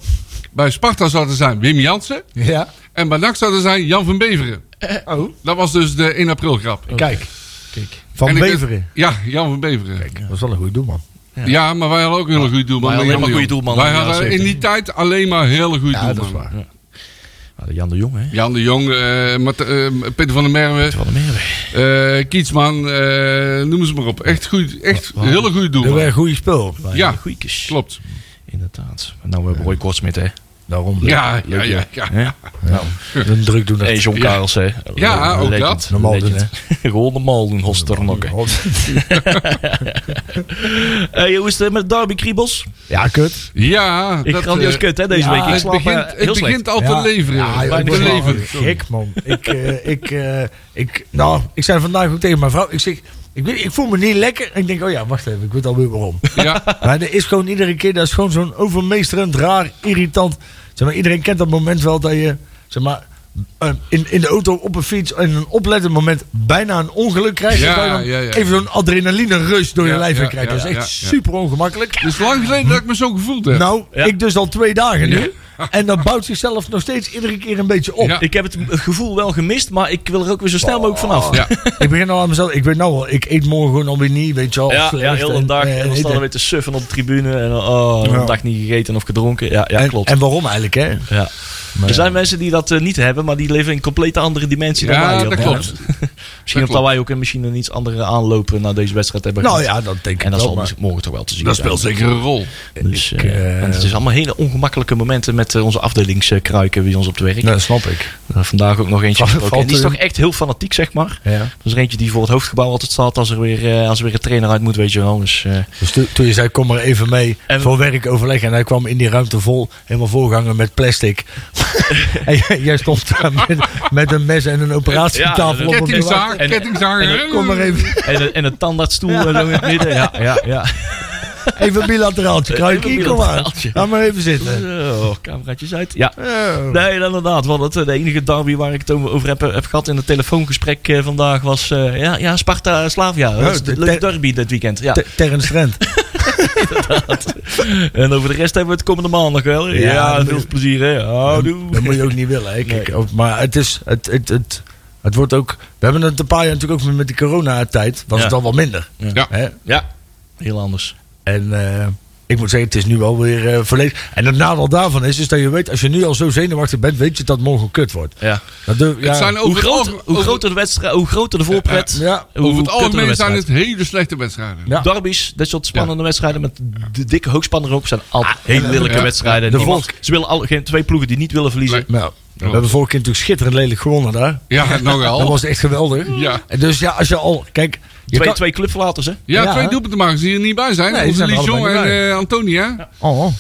Speaker 3: Bij Sparta zou er zijn Wim Jansen.
Speaker 4: Ja.
Speaker 3: En bij NAC zou er zijn Jan van Beveren.
Speaker 4: Oh.
Speaker 3: Dat was dus de 1 april grap.
Speaker 4: Kijk.
Speaker 2: Kijk.
Speaker 4: Van
Speaker 3: En ik-
Speaker 4: Beveren.
Speaker 3: Ja, Jan van Beveren.
Speaker 4: Dat is wel een goede doelman.
Speaker 3: Ja. maar wij hadden ook een hele goede doelman.
Speaker 2: wij hadden
Speaker 3: Jan
Speaker 2: helemaal goede
Speaker 3: de Jong.
Speaker 2: doelmannen
Speaker 3: Wij
Speaker 2: in de
Speaker 3: hadden in die tijd alleen maar hele goede
Speaker 4: Ja, dat is
Speaker 3: doelmannen.
Speaker 4: waar.
Speaker 2: Ah, de Jan de Jong, hè?
Speaker 3: Jan de Jong, eh, Mart- eh, Peter van der Merwe,
Speaker 2: Van de Meerweg.
Speaker 3: eh, Kietsman, eh, noem ze maar op. Echt, goed, echt
Speaker 2: Wa- wa-
Speaker 3: hele goede
Speaker 4: Heel
Speaker 3: doelman.
Speaker 4: erg goede spul.
Speaker 3: Ja.
Speaker 2: Goeiekes.
Speaker 3: Klopt.
Speaker 2: Inderdaad. Nou, we hebben Roy Kortsmit, hè?
Speaker 4: Daarom.
Speaker 3: Ja, ja, ja. ja.
Speaker 2: Hè?
Speaker 4: Nou, een druk doen.
Speaker 2: Hey, John
Speaker 3: Ja.
Speaker 2: Karels, hè? Eh,
Speaker 3: Ja, ook
Speaker 2: Legend.
Speaker 3: dat.
Speaker 4: Normaal doen,
Speaker 2: Legend. [laughs] Gewoon normaal doen, Hosternokken. Hey, Eh, hoe is het met Darby Kriebels?
Speaker 4: [laughs] Ja, kut.
Speaker 3: Ja,
Speaker 2: Ik
Speaker 3: dat,
Speaker 2: grandioos
Speaker 3: eh,
Speaker 2: kut, hè, deze
Speaker 4: ja,
Speaker 2: week. Ik
Speaker 3: Het
Speaker 2: slaap eh,
Speaker 3: begint,
Speaker 2: heel
Speaker 3: het
Speaker 2: slecht.
Speaker 3: begint al te
Speaker 4: Ja.
Speaker 3: leveren.
Speaker 4: Ja,
Speaker 3: joh.
Speaker 4: joh, ik
Speaker 2: Bijna
Speaker 4: word wel
Speaker 3: Belevend, sorry.
Speaker 4: gek, man. Ik, eh, ik, eh, ik, nou, ik zei vandaag ook tegen mijn vrouw. Ik zeg, ik, weet, ik voel me niet lekker. En ik denk, oh ja, wacht even. Ik weet alweer waarom.
Speaker 3: Ja,
Speaker 4: Maar er is gewoon iedere keer, dat is gewoon zo'n overmeesterend, raar, irritant. Zeg maar, iedereen kent dat moment wel dat je, zeg maar, eh, in, in de auto op een fiets in een oplettend moment bijna een ongeluk krijgt.
Speaker 3: Ja,
Speaker 4: en dat je dan
Speaker 3: ja, ja.
Speaker 4: Even zo'n adrenaline rush door je
Speaker 3: Ja,
Speaker 4: lijf
Speaker 3: ja,
Speaker 4: heen krijgt. dat
Speaker 3: ja,
Speaker 4: is echt
Speaker 3: ja, ja.
Speaker 4: super ongemakkelijk.
Speaker 3: het is lang geleden dat ik me zo gevoeld heb.
Speaker 4: Nou,
Speaker 2: Ja.
Speaker 4: ik dus al twee dagen nu. En dat bouwt zichzelf nog steeds iedere keer een beetje op.
Speaker 3: Ja.
Speaker 2: Ik heb het gevoel wel gemist, maar ik wil er ook weer zo snel mogelijk vanaf.
Speaker 4: [laughs]
Speaker 3: ja.
Speaker 4: Ik begin al aan mezelf. Ik weet nou wel, ik eet morgen gewoon alweer niet, weet je wel.
Speaker 2: Ja,
Speaker 4: of
Speaker 2: ja,
Speaker 4: slecht.
Speaker 2: heel de dag.
Speaker 4: eh,
Speaker 2: En dan
Speaker 4: eten.
Speaker 2: staan we weer te suffen op de tribune. En oh,
Speaker 4: Ja.
Speaker 2: een dag niet gegeten of gedronken. Ja, ja
Speaker 4: En-
Speaker 2: klopt.
Speaker 4: En waarom eigenlijk, hè?
Speaker 2: ja. Er zijn mensen die dat eh, niet hebben, maar die leven in een complete andere dimensie dan wij.
Speaker 3: ja,
Speaker 2: op-
Speaker 3: dat klopt.
Speaker 4: [laughs]
Speaker 2: Misschien
Speaker 3: dat
Speaker 2: omdat wij ook een- misschien een iets andere aanlopen naar deze wedstrijd hebben.
Speaker 4: Nou
Speaker 2: gehad.
Speaker 4: ja, dat denk ik
Speaker 2: En dat
Speaker 4: wel,
Speaker 2: zal
Speaker 4: maar-
Speaker 2: morgen toch wel te zien
Speaker 3: Dat
Speaker 2: zijn.
Speaker 3: speelt zeker een rol.
Speaker 2: Dus,
Speaker 4: Ik,
Speaker 2: eh,
Speaker 4: eh,
Speaker 2: en het is allemaal hele ongemakkelijke momenten met eh, onze afdelingskruiken bij ons op het werk.
Speaker 4: Dat snap ik.
Speaker 2: Eh, Vandaag ook nog eentje
Speaker 4: Valt-
Speaker 2: gesproken.
Speaker 4: valt
Speaker 2: En die is
Speaker 4: er-
Speaker 2: toch echt heel fanatiek, zeg maar.
Speaker 4: Ja.
Speaker 2: Dat is er eentje die voor het hoofdgebouw altijd staat als er weer, eh, als er weer een trainer uit moet, weet je wel. Dus, eh,
Speaker 4: Dus toen, toen je zei, kom maar even mee
Speaker 2: En-
Speaker 4: voor werk overleggen. En hij kwam in die ruimte vol, helemaal volgangen met
Speaker 2: [laughs]
Speaker 4: plastic. en jij, jij stond daar met, met een mes en een operatietafel op. te
Speaker 3: Kettingzaag,
Speaker 4: wachten.
Speaker 2: En-
Speaker 3: kettingzaag.
Speaker 2: en-
Speaker 4: Kom maar even,
Speaker 2: [laughs] en, een- en een tandartsstoel en zo in het midden. Ja, ja, [laughs] ja.
Speaker 4: even bilateraaltje. Kruikie,
Speaker 2: Even
Speaker 4: kom maar.
Speaker 2: bilateraaltje.
Speaker 4: Ga maar even zitten.
Speaker 2: Zo, cameraatjes uit. Ja.
Speaker 4: Oh.
Speaker 2: Nee, inderdaad. Want het, eh, de enige derby waar ik het over over heb, heb gehad in het telefoongesprek eh, vandaag was eh, ja, ja, Sparta-Slavia. Dat is
Speaker 4: de
Speaker 2: een leuk
Speaker 4: ter-
Speaker 2: derby dit weekend. Ja.
Speaker 4: Ter-
Speaker 2: [laughs]
Speaker 4: Terrence Trent.
Speaker 2: En over de rest hebben we het komende maandag wel. Ja,
Speaker 4: Ja, dat
Speaker 2: veel
Speaker 4: moet-
Speaker 2: plezier hè. Houdoe.
Speaker 4: Dat moet je ook niet willen. Hè. Kijk, ook- Maar het is. Het, het, het, het wordt ook. We hebben het een paar jaar natuurlijk ook met de coronatijd. Was
Speaker 2: Ja.
Speaker 4: het al wat minder.
Speaker 3: Ja.
Speaker 4: Hè?
Speaker 2: Ja, heel anders.
Speaker 4: En eh, ik moet zeggen, het is nu wel weer eh, volledig. En het nadeel daarvan is, is dat je weet, als je nu al zo zenuwachtig bent, weet je dat morgen kut wordt.
Speaker 2: Ja.
Speaker 4: Dat durf- ja,
Speaker 3: Het zijn
Speaker 2: Hoe,
Speaker 3: over,
Speaker 2: groot,
Speaker 3: over-
Speaker 2: hoe groter de wedstrijd, hoe groter de voorpret,
Speaker 4: Ja, ja.
Speaker 2: hoe
Speaker 3: over het
Speaker 2: kutter de
Speaker 3: algemeen zijn
Speaker 2: wedstrijd.
Speaker 3: het hele slechte wedstrijden.
Speaker 4: Ja.
Speaker 2: Derbies, dat soort spannende wedstrijden met de dikke hoogspanner op zijn altijd hele lelijke
Speaker 3: Ah, ja.
Speaker 2: wedstrijden.
Speaker 4: De
Speaker 2: Die
Speaker 4: volk-
Speaker 2: mag- ze willen al, geen twee ploegen die niet willen verliezen.
Speaker 4: Nou,
Speaker 3: Oh.
Speaker 4: we hebben vorige keer natuurlijk schitterend lelijk gewonnen daar.
Speaker 3: Ja,
Speaker 4: [laughs] Dat
Speaker 3: nogal.
Speaker 4: was echt geweldig.
Speaker 3: Oh. Ja.
Speaker 4: En Dus ja, als je al. Kijk, je
Speaker 2: twee,
Speaker 4: kan-
Speaker 2: twee clubverlaters, hè?
Speaker 3: Ja,
Speaker 4: Ja.
Speaker 3: twee doelpunten maken die er niet bij zijn.
Speaker 4: Nee, die
Speaker 3: Onze
Speaker 4: zijn er
Speaker 3: Lijon en
Speaker 4: allebei niet
Speaker 3: eh, Antonia.
Speaker 4: Oh. oh.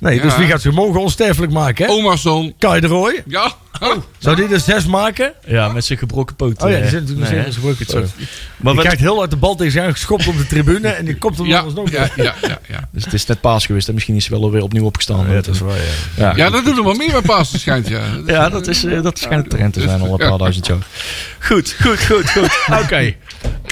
Speaker 4: Nee, dus
Speaker 3: Ja. Oh.
Speaker 4: wie gaat ze morgen onsterfelijk maken? Hè?
Speaker 3: Omarsson.
Speaker 4: Kai de Roy.
Speaker 3: Ja. Oh.
Speaker 4: Zou die er zes maken?
Speaker 2: Ja, met zijn gebroken poten.
Speaker 4: Oh ja, die
Speaker 2: eh,
Speaker 4: zijn natuurlijk
Speaker 2: nee,
Speaker 4: nog steeds
Speaker 2: hè?
Speaker 4: gebroken. zo.
Speaker 2: Maar
Speaker 4: Die
Speaker 2: wat,
Speaker 4: kijkt heel uit de bal tegen zijn geschopt op de tribune en die komt hem
Speaker 3: Ja,
Speaker 4: alsnog
Speaker 3: ja,
Speaker 4: door.
Speaker 3: ja, ja, ja.
Speaker 2: dus het is net paas geweest. En misschien is hij wel weer opnieuw opgestaan.
Speaker 4: Ja, dat is waar, ja.
Speaker 2: ja.
Speaker 3: Ja, dat doet er wel meer bij Pasen, schijnt. Ja.
Speaker 2: Ja, dat, is, eh, dat schijnt een trend te zijn al een paar duizend jaar. Goed, goed, goed,
Speaker 4: [laughs]
Speaker 2: goed. Oké.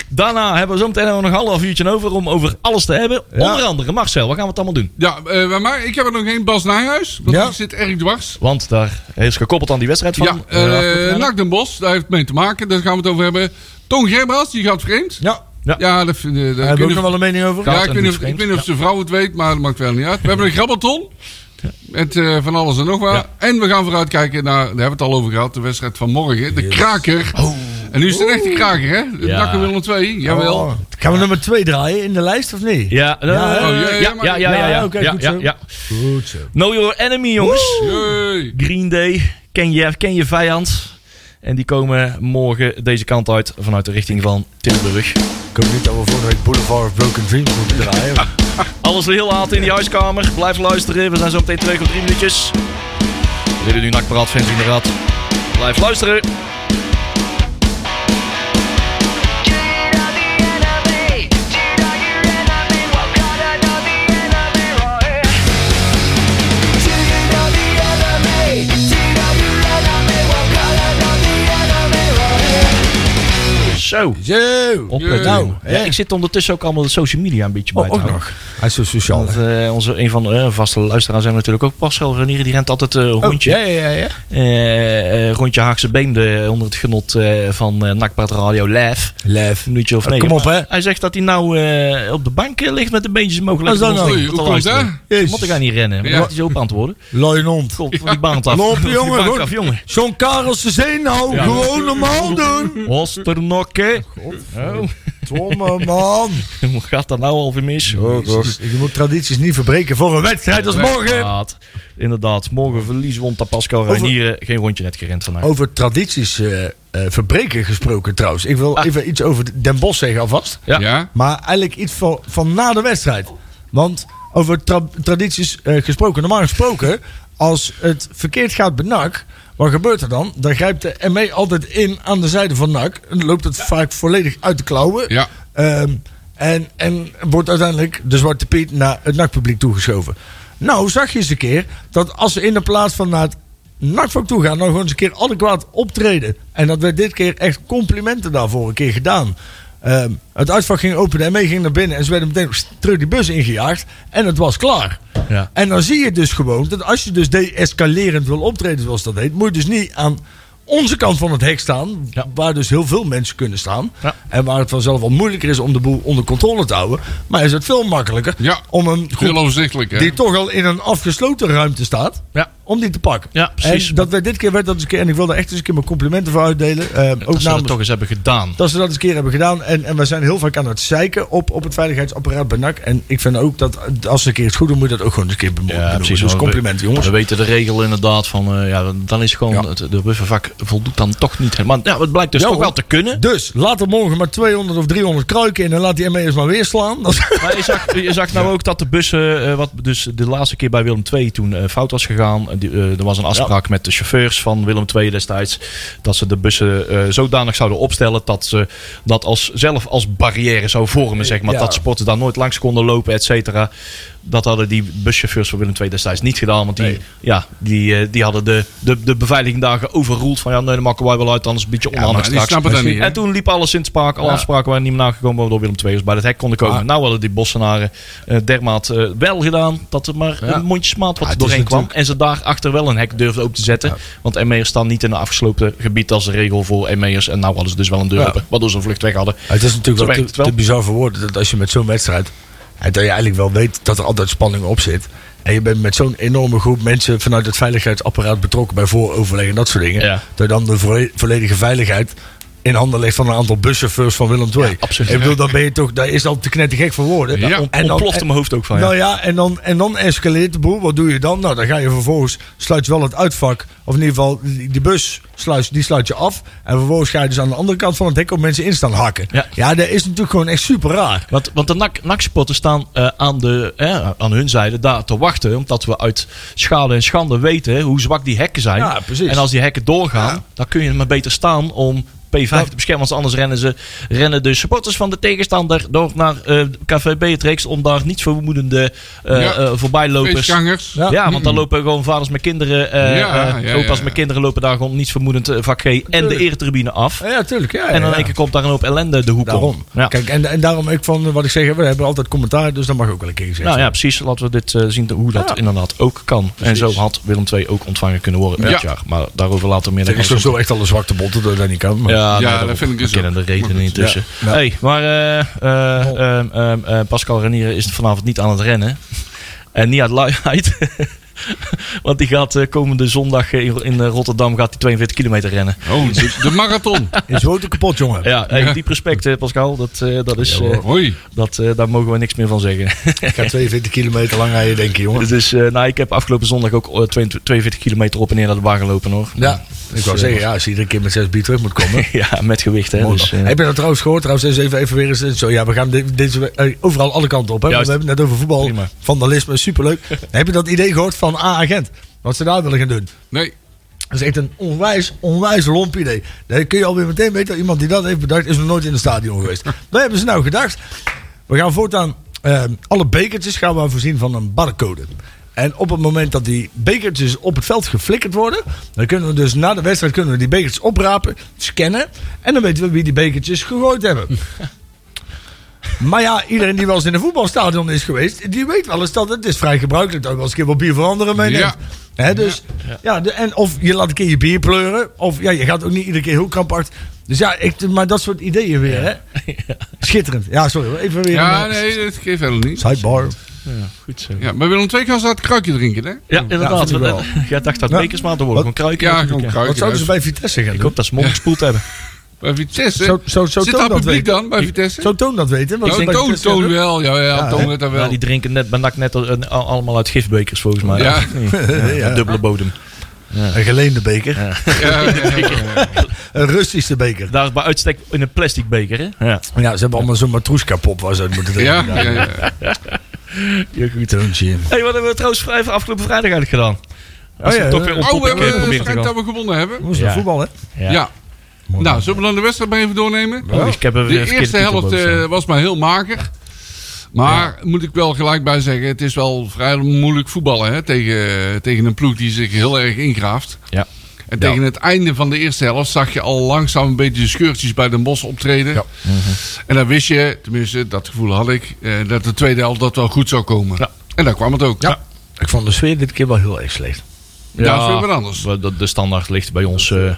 Speaker 2: Daarna hebben we zometeen nog een half uurtje over om over alles te hebben.
Speaker 4: Ja.
Speaker 2: Onder andere, Marcel, wat gaan we het allemaal doen?
Speaker 3: Ja, eh, bij mij, ik heb er nog geen Bas Nijhuis. Want
Speaker 4: Ja.
Speaker 3: die zit erg dwars.
Speaker 2: Want daar is gekoppeld aan die wedstrijd van... eh,
Speaker 3: Ja, eh Nac Den Bos, daar heeft het mee te maken. Daar gaan we het over hebben. Toon Gerbrands, die gaat vreemd.
Speaker 4: Ja,
Speaker 2: Ja.
Speaker 3: Ja, dat vind ik. dat-
Speaker 4: Daar
Speaker 3: ik weet
Speaker 4: heb ik ook
Speaker 3: niet
Speaker 4: nog
Speaker 3: of-
Speaker 4: wel een mening over.
Speaker 2: Ja.
Speaker 3: Ja,
Speaker 2: Koud
Speaker 3: ik
Speaker 2: en
Speaker 3: weet niet
Speaker 2: niet
Speaker 3: of- ik
Speaker 2: vreemd.
Speaker 3: weet niet of zijn vrouw het weet, maar dat maakt wel niet uit. We hebben een grabbelton. Met eh, van alles en nog wat.
Speaker 2: Ja.
Speaker 3: En we gaan vooruitkijken naar, daar hebben we het al over gehad, de wedstrijd van morgen. De kraker. En nu is het een echte kraker, hè? De
Speaker 2: Ja.
Speaker 3: Nakken Willem 2, jawel.
Speaker 4: Oh, gaan we nummer 2 draaien in de lijst of niet?
Speaker 2: Ja, eh, ja,
Speaker 4: Oh,
Speaker 3: ja, ja,
Speaker 2: ja,
Speaker 3: maar-
Speaker 2: ja, ja, ja,
Speaker 4: Ja, oké,
Speaker 2: ja,
Speaker 4: goed
Speaker 2: ja,
Speaker 4: zo.
Speaker 2: ja.
Speaker 4: Goed zo.
Speaker 2: Know your enemy, jongens.
Speaker 3: Jee.
Speaker 2: Green Day, ken je, ken je vijand. En die komen morgen deze kant uit vanuit de richting van Tilburg.
Speaker 4: Ik hoop niet dat we volgende week Boulevard of Broken Dreams moeten draaien.
Speaker 2: Alles heel laat in die huiskamer. Blijf luisteren. We zijn zo meteen terug op drie minuutjes. We willen nu nakpraat, fans in de rad. Blijf luisteren.
Speaker 5: Cheat on the enemy, cheat on your enemy. What kind of know the enemy? Cheat on the enemy, cheat on your enemy. What kind of know the enemy?
Speaker 2: Zo.
Speaker 4: [laughs] Zo!
Speaker 2: Opletten.
Speaker 4: Nou,
Speaker 2: Ja,
Speaker 4: hè?
Speaker 2: ik zit ondertussen ook allemaal de social media een beetje bij
Speaker 4: Oh,
Speaker 2: te
Speaker 4: ook
Speaker 2: houden.
Speaker 4: nog. Hij is zo sociaal.
Speaker 2: Want, eh, onze, een van de eh, vaste luisteraars zijn we natuurlijk ook Pascal Renier. Die rent altijd eh,
Speaker 4: Oh,
Speaker 2: rondje.
Speaker 4: ja, ja, ja, ja.
Speaker 2: Eh, eh, rondje Haagse Beemde onder het genot eh, van eh Nakpraat Radio Live.
Speaker 4: Lef.
Speaker 2: Een minuutje of
Speaker 4: Oh,
Speaker 2: negen.
Speaker 4: kom op, hè.
Speaker 2: Hij zegt dat hij nou eh, op de bank eh, ligt met de beentjes omhoog. Lekker
Speaker 4: Wat is dat
Speaker 2: ons
Speaker 4: nou?
Speaker 2: te- te
Speaker 3: Oei, hoe komt
Speaker 2: luisteren.
Speaker 3: dat?
Speaker 4: Jezus.
Speaker 2: Moet ik aan niet rennen. Maar
Speaker 3: Ja.
Speaker 2: dat is ook antwoorden.
Speaker 4: Looien hond.
Speaker 2: Komt van die baan af.
Speaker 4: Loop,
Speaker 2: Van die
Speaker 4: jongen,
Speaker 2: baan
Speaker 4: hoor.
Speaker 2: af, jongen.
Speaker 4: Zo'n Karelse Zeen nou,
Speaker 2: Ja.
Speaker 4: gewoon normaal doen.
Speaker 2: Osternokke. Oh,
Speaker 4: Tomme man.
Speaker 2: [laughs] hoe gaat dat nou alweer mis?
Speaker 4: Oh, Je moet tradities niet verbreken voor een wedstrijd als morgen.
Speaker 2: Inderdaad. Inderdaad. Morgen verliezen we omdat Pascal
Speaker 4: Over- Oh.
Speaker 2: Reinieren geen rondje net gerend vandaag.
Speaker 4: Over tradities eh, eh, verbreken gesproken trouwens. Ik wil
Speaker 2: Ah.
Speaker 4: even iets over Den Bosch zeggen alvast.
Speaker 2: Ja.
Speaker 3: Ja.
Speaker 4: Maar eigenlijk iets van, van na de wedstrijd. Want over tra- tradities eh, gesproken, normaal gesproken, als het verkeerd gaat bij NAC, wat gebeurt er dan? Dan grijpt de ME altijd in aan de zijde van NAC. En dan loopt het vaak volledig uit de klauwen.
Speaker 3: Ja.
Speaker 4: Ehm, en, en wordt uiteindelijk de Zwarte Piet naar het NAC-publiek toegeschoven. Nou, zag je eens een keer dat als ze in de plaats van naar het NAC-vak toe gaan, nou gewoon eens een keer adequaat optreden. En dat werd dit keer echt complimenten daarvoor een keer gedaan. Ehm, het uitvak ging openen en mee E ging naar binnen. En ze werden meteen pst, terug die bus ingejaagd. En het was klaar.
Speaker 2: Ja.
Speaker 4: En dan zie je dus gewoon dat als je dus deescalerend wil optreden, zoals dat heet, moet je dus niet aan onze kant van het hek staan,
Speaker 2: Ja.
Speaker 4: waar dus heel veel mensen kunnen staan.
Speaker 2: Ja.
Speaker 4: En waar het vanzelf wel moeilijker is om de boel onder controle te houden. Maar is het veel makkelijker
Speaker 3: Ja.
Speaker 4: om een
Speaker 3: Heel
Speaker 4: groep
Speaker 3: overzichtelijk, hè?
Speaker 4: die toch al in een afgesloten ruimte staat,
Speaker 2: Ja.
Speaker 4: om die te pakken.
Speaker 2: Ja, precies.
Speaker 4: En dat werd dit keer werd dat eens een keer, en ik wil daar echt eens een keer mijn complimenten voor uitdelen. eh, ook
Speaker 2: Dat ze dat
Speaker 4: namens
Speaker 2: toch eens hebben gedaan.
Speaker 4: dat ze dat eens een keer hebben gedaan. En, en we zijn heel vaak aan het zeiken op, op het veiligheidsapparaat bij NAC. En ik vind ook dat als ze een keer het goed doen, moet je dat ook gewoon eens een keer bemo- benoemen. Dus
Speaker 2: want
Speaker 4: compliment,
Speaker 2: we,
Speaker 4: jongens.
Speaker 2: We weten de regel inderdaad van, eh, ja, dan is gewoon,
Speaker 4: Ja.
Speaker 2: het, de buffervak voldoet dan toch niet helemaal. Ja, het blijkt dus
Speaker 4: Ja,
Speaker 2: toch
Speaker 4: hoor.
Speaker 2: wel te kunnen.
Speaker 4: Dus laat er morgen maar 200 of 300 kruiken in en laat die ME'ers maar weer slaan. Dat is-
Speaker 2: Maar je zag, je zag nou ook dat de bussen, eh, wat dus de laatste keer bij Willem II toen eh, fout was gegaan. eh, die, eh, er was een afspraak met de chauffeurs van Willem II destijds. Dat ze de bussen eh, zodanig zouden opstellen dat ze dat als, zelf als barrière zou vormen. Zeg maar.
Speaker 4: Ja.
Speaker 2: Dat sporten daar nooit langs konden lopen, et cetera. Dat hadden die buschauffeurs van Willem II destijds niet gedaan. Want die,
Speaker 4: Nee.
Speaker 2: ja, die, eh, die hadden de, de, de beveiliging dagen overroeld. Van ja, nee, dan maken wij wel uit, anders een beetje onhandig
Speaker 3: maar die
Speaker 2: straks.
Speaker 3: snappen dat niet, hè?
Speaker 2: En toen liep alles in het park. Alle afspraken waren niet meer nagekomen waardoor Willem II was bij het hek konden komen.
Speaker 4: Ah.
Speaker 2: Nou hadden die Bossenaren eh, dermaat eh, wel gedaan dat er maar
Speaker 4: Ja.
Speaker 2: een mondjesmaat wat
Speaker 4: Ah,
Speaker 2: er
Speaker 4: het
Speaker 2: doorheen
Speaker 4: is
Speaker 2: kwam. En ze daarachter wel een hek durfden open te zetten. Want ME'ers staan niet in een afgesloten gebied als de regel voor ME'ers. En nou hadden ze dus wel een deur
Speaker 4: Ja.
Speaker 2: open, waardoor ze een vlucht weg hadden.
Speaker 4: Het is
Speaker 2: Zo
Speaker 4: natuurlijk wel
Speaker 2: werkt
Speaker 4: te,
Speaker 2: het wel.
Speaker 4: te bizar voor woorden dat als je met zo'n wedstrijd. en dat je eigenlijk wel weet dat er altijd spanning op zit. En je bent met zo'n enorme groep mensen vanuit het veiligheidsapparaat betrokken bij vooroverleg en dat soort dingen.
Speaker 2: Ja.
Speaker 4: Dat je dan de volle- volledige veiligheid in handen legt van een aantal buschauffeurs van Willem II.
Speaker 2: absoluut.
Speaker 4: Ik bedoel, dan ben je toch, daar is al te knettergek voor woorden.
Speaker 3: Ja.
Speaker 2: On-
Speaker 4: En dan-
Speaker 2: ontplofte
Speaker 4: en-
Speaker 2: mijn hoofd ook van. Ja.
Speaker 4: nou ja, en dan, en dan escaleert de boel. Wat doe je dan? Nou, dan ga je vervolgens, sluit je wel het uitvak. Of in ieder geval, die, die bus sluit, die sluit je af. En vervolgens ga je dus aan de andere kant van het hek op mensen in staan hakken.
Speaker 2: Ja.
Speaker 4: dat is natuurlijk gewoon echt super raar.
Speaker 2: Want, want de NAC NAC-supporters staan eh, aan, de, eh, aan hun zijde daar te wachten. Omdat we uit schade en schande weten hoe zwak die hekken zijn.
Speaker 4: Ja, precies.
Speaker 2: En als die hekken doorgaan,
Speaker 4: Ja.
Speaker 2: dan kun je maar beter staan om P5 te beschermen. Want anders rennen, ze, rennen de supporters van de tegenstander door naar eh Café Beatrix. Om daar niet vermoedende eh
Speaker 3: Ja.
Speaker 2: eh, voorbijlopers...
Speaker 3: Feestgangers.
Speaker 2: Ja, want dan lopen gewoon vaders met kinderen, eh
Speaker 3: Ja,
Speaker 2: eh,
Speaker 3: ja, ja,
Speaker 2: opa's
Speaker 3: ja.
Speaker 2: met kinderen lopen daar gewoon niet vermoedend eh, vak G en de
Speaker 4: Natuurlijk.
Speaker 2: eretribune af.
Speaker 4: Ja, Ja, tuurlijk. Ja,
Speaker 2: En
Speaker 4: ja,
Speaker 2: dan in
Speaker 4: ja.
Speaker 2: één keer komt daar een hoop ellende de hoek om.
Speaker 4: Daarom.
Speaker 2: Ja.
Speaker 4: Kijk, en, en daarom ik van eh, wat ik zeg, we hebben altijd commentaar, dus dat mag ook wel een keer gezegd
Speaker 2: Nou ja, precies. Laten we dit eh, zien hoe dat
Speaker 4: Ja.
Speaker 2: inderdaad ook kan. En zo had Willem II ook ontvangen kunnen worden dit
Speaker 3: Ja. dus
Speaker 2: jaar. Maar daarover later meer.
Speaker 4: Het
Speaker 2: Dan
Speaker 4: is
Speaker 2: kan
Speaker 4: toch
Speaker 2: ik zo-
Speaker 4: zo echt al een zwakte bot dat dat niet kan. Maar,
Speaker 2: Ja, Ja,
Speaker 3: Ja,
Speaker 2: nee,
Speaker 3: dat vind ik dus
Speaker 2: We kennen de
Speaker 3: ook. Maar
Speaker 2: redenen
Speaker 3: goed,
Speaker 2: intussen.
Speaker 4: ja. Ja.
Speaker 2: Hey, maar eh, eh, ehm, ehm, eh, Pascal Renier is vanavond niet aan het rennen. En niet uit luiheid. [laughs] Want die gaat eh, komende zondag in, in eh, Rotterdam gaat die 42 kilometer rennen.
Speaker 3: Oh, de, de marathon.
Speaker 4: [laughs] Is Wouten kapot, jongen.
Speaker 2: Ja, hey,
Speaker 3: Ja.
Speaker 2: diep respect eh, Pascal. Dat, eh, dat is, eh,
Speaker 3: Hoi.
Speaker 2: dat, eh, daar mogen we niks meer van zeggen. [laughs]
Speaker 4: Ik ga 42 kilometer lang rijden, denk ik, jongen.
Speaker 2: dus, eh, nou, ik heb afgelopen zondag ook eh, 22 42 kilometer op en neer naar de bar gelopen hoor.
Speaker 4: Ja, ik wou zeggen, ja, als je iedere keer met 6 bier terug moet komen.
Speaker 2: [laughs] Ja, met gewicht hè.
Speaker 4: Mooi
Speaker 2: Dus,
Speaker 4: dan.
Speaker 2: eh,
Speaker 4: Heb je dat trouwens gehoord? Trouwens, eens even, even weer eens. eh, Zo, ja, we gaan dit- deze, eh, overal alle kanten op. Hè?
Speaker 2: Juist.
Speaker 4: Want We hebben het net over voetbal,
Speaker 2: Prima. [laughs]
Speaker 4: vandalisme, superleuk. heb je dat idee gehoord van A-agent? Wat ze daar willen gaan doen?
Speaker 3: Nee.
Speaker 4: Dat is echt een onwijs, onwijs lomp idee. Dan kun je alweer meteen weten, iemand die dat heeft bedacht, is nog nooit in het stadion geweest. Daar hebben ze nou gedacht. We gaan voortaan eh, alle bekertjes gaan we voorzien van een barcode. En op het moment dat die bekertjes op het veld geflikkerd worden, dan kunnen we dus na de wedstrijd kunnen we die bekertjes oprapen, scannen. En dan weten we wie die bekertjes gegooid hebben. Maar ja, iedereen die wel eens in een voetbalstadion is geweest, die weet wel eens dat het is vrij gebruikelijk dat je wel eens een keer wat bier voor anderen meeneemt. Hè, dus, ja, de, en of je laat een keer je bier pleuren, of ja, je gaat ook niet iedere keer heel krampachtig. Dus ja, ik, maar dat soort ideeën weer, hè? [laughs] Schitterend. Ja, sorry, hoor. even weer.
Speaker 3: Ja,
Speaker 4: een, eh,
Speaker 3: nee, dat geeft helemaal niet.
Speaker 4: Sidebar.
Speaker 2: goed zo.
Speaker 3: Ja, maar Willem II gaat ze uit het kruikje drinken, hè?
Speaker 2: Ja, inderdaad.
Speaker 4: vind ik wel.
Speaker 2: [laughs] Jij dacht dat
Speaker 4: Ja.
Speaker 2: bekersmaat te worden.
Speaker 4: Wat?
Speaker 2: Gewoon kruiken.
Speaker 3: Ja,
Speaker 2: natuurlijk,
Speaker 3: gewoon
Speaker 2: ja.
Speaker 4: Wat
Speaker 3: kruiken.
Speaker 4: zouden ze bij Vitesse gaan
Speaker 2: Ik
Speaker 4: doen?
Speaker 2: hoop dat ze morgen gespoeld hebben.
Speaker 3: Bij Vitesse.
Speaker 4: Zo- zo- zo
Speaker 3: Zit
Speaker 4: Toon
Speaker 3: daar
Speaker 4: dat
Speaker 3: publiek
Speaker 4: weet.
Speaker 3: dan, bij Vitesse?
Speaker 4: Zou Toon dat weten? Wat
Speaker 3: Ja,
Speaker 4: ze bij
Speaker 3: toon,
Speaker 4: Vitesse gaan
Speaker 3: toon
Speaker 4: doen?
Speaker 3: wel. Ja, ja,
Speaker 4: Ja,
Speaker 3: Toon
Speaker 4: hè?
Speaker 3: weet dat
Speaker 2: Ja,
Speaker 3: wel.
Speaker 2: die drinken net, benak net al- een- al- allemaal uit gifbekers volgens mij.
Speaker 3: [laughs] Ja.
Speaker 2: Of niet? Een Dubbele bodem.
Speaker 4: Een geleende beker.
Speaker 3: Ja, ja, ja.
Speaker 4: Een Russische beker.
Speaker 2: Daar is bij uitstek in een plastic beker, hè? Ja.
Speaker 4: Ja, ze hebben allemaal zo'n matroeska-pop waar ze uit moeten drinken.
Speaker 3: Ja, ja, ja.
Speaker 4: goed. Toontje.
Speaker 2: hey, wat hebben we trouwens vrij- afgelopen vrijdag eigenlijk gedaan? Als we
Speaker 4: ja,
Speaker 2: toch
Speaker 4: ja.
Speaker 2: weer
Speaker 3: Oh, we
Speaker 2: ontpopping eh,
Speaker 3: hebben een
Speaker 2: proberen te
Speaker 3: wedstrijd dat
Speaker 2: gaan.
Speaker 3: we gewonnen hebben.
Speaker 4: Moest naar
Speaker 2: Ja.
Speaker 4: voetbal, hè?
Speaker 3: Ja. Nou, zullen we dan de wedstrijd maar even doornemen?
Speaker 2: Oh, ik heb er weer
Speaker 3: De
Speaker 2: een verkeerde
Speaker 3: eerste
Speaker 2: titel
Speaker 3: helft
Speaker 2: boven
Speaker 3: eh,
Speaker 2: staan.
Speaker 3: was maar heel mager. Maar moet ik wel gelijk bij zeggen, het is wel vrij moeilijk voetballen hè, tegen, tegen een ploeg die zich heel erg ingraaft.
Speaker 2: Ja.
Speaker 3: En tegen het einde van de eerste helft zag je al langzaam een beetje de scheurtjes bij de Bos optreden. En dan wist je, tenminste dat gevoel had ik, eh, dat de tweede helft dat wel goed zou komen.
Speaker 2: Ja.
Speaker 3: En daar kwam het ook.
Speaker 4: Ja. Ik vond de sfeer dit keer wel heel erg slecht.
Speaker 3: Ja, dat is weer wat anders.
Speaker 2: we- De, de standaard ligt bij ons eh, eh,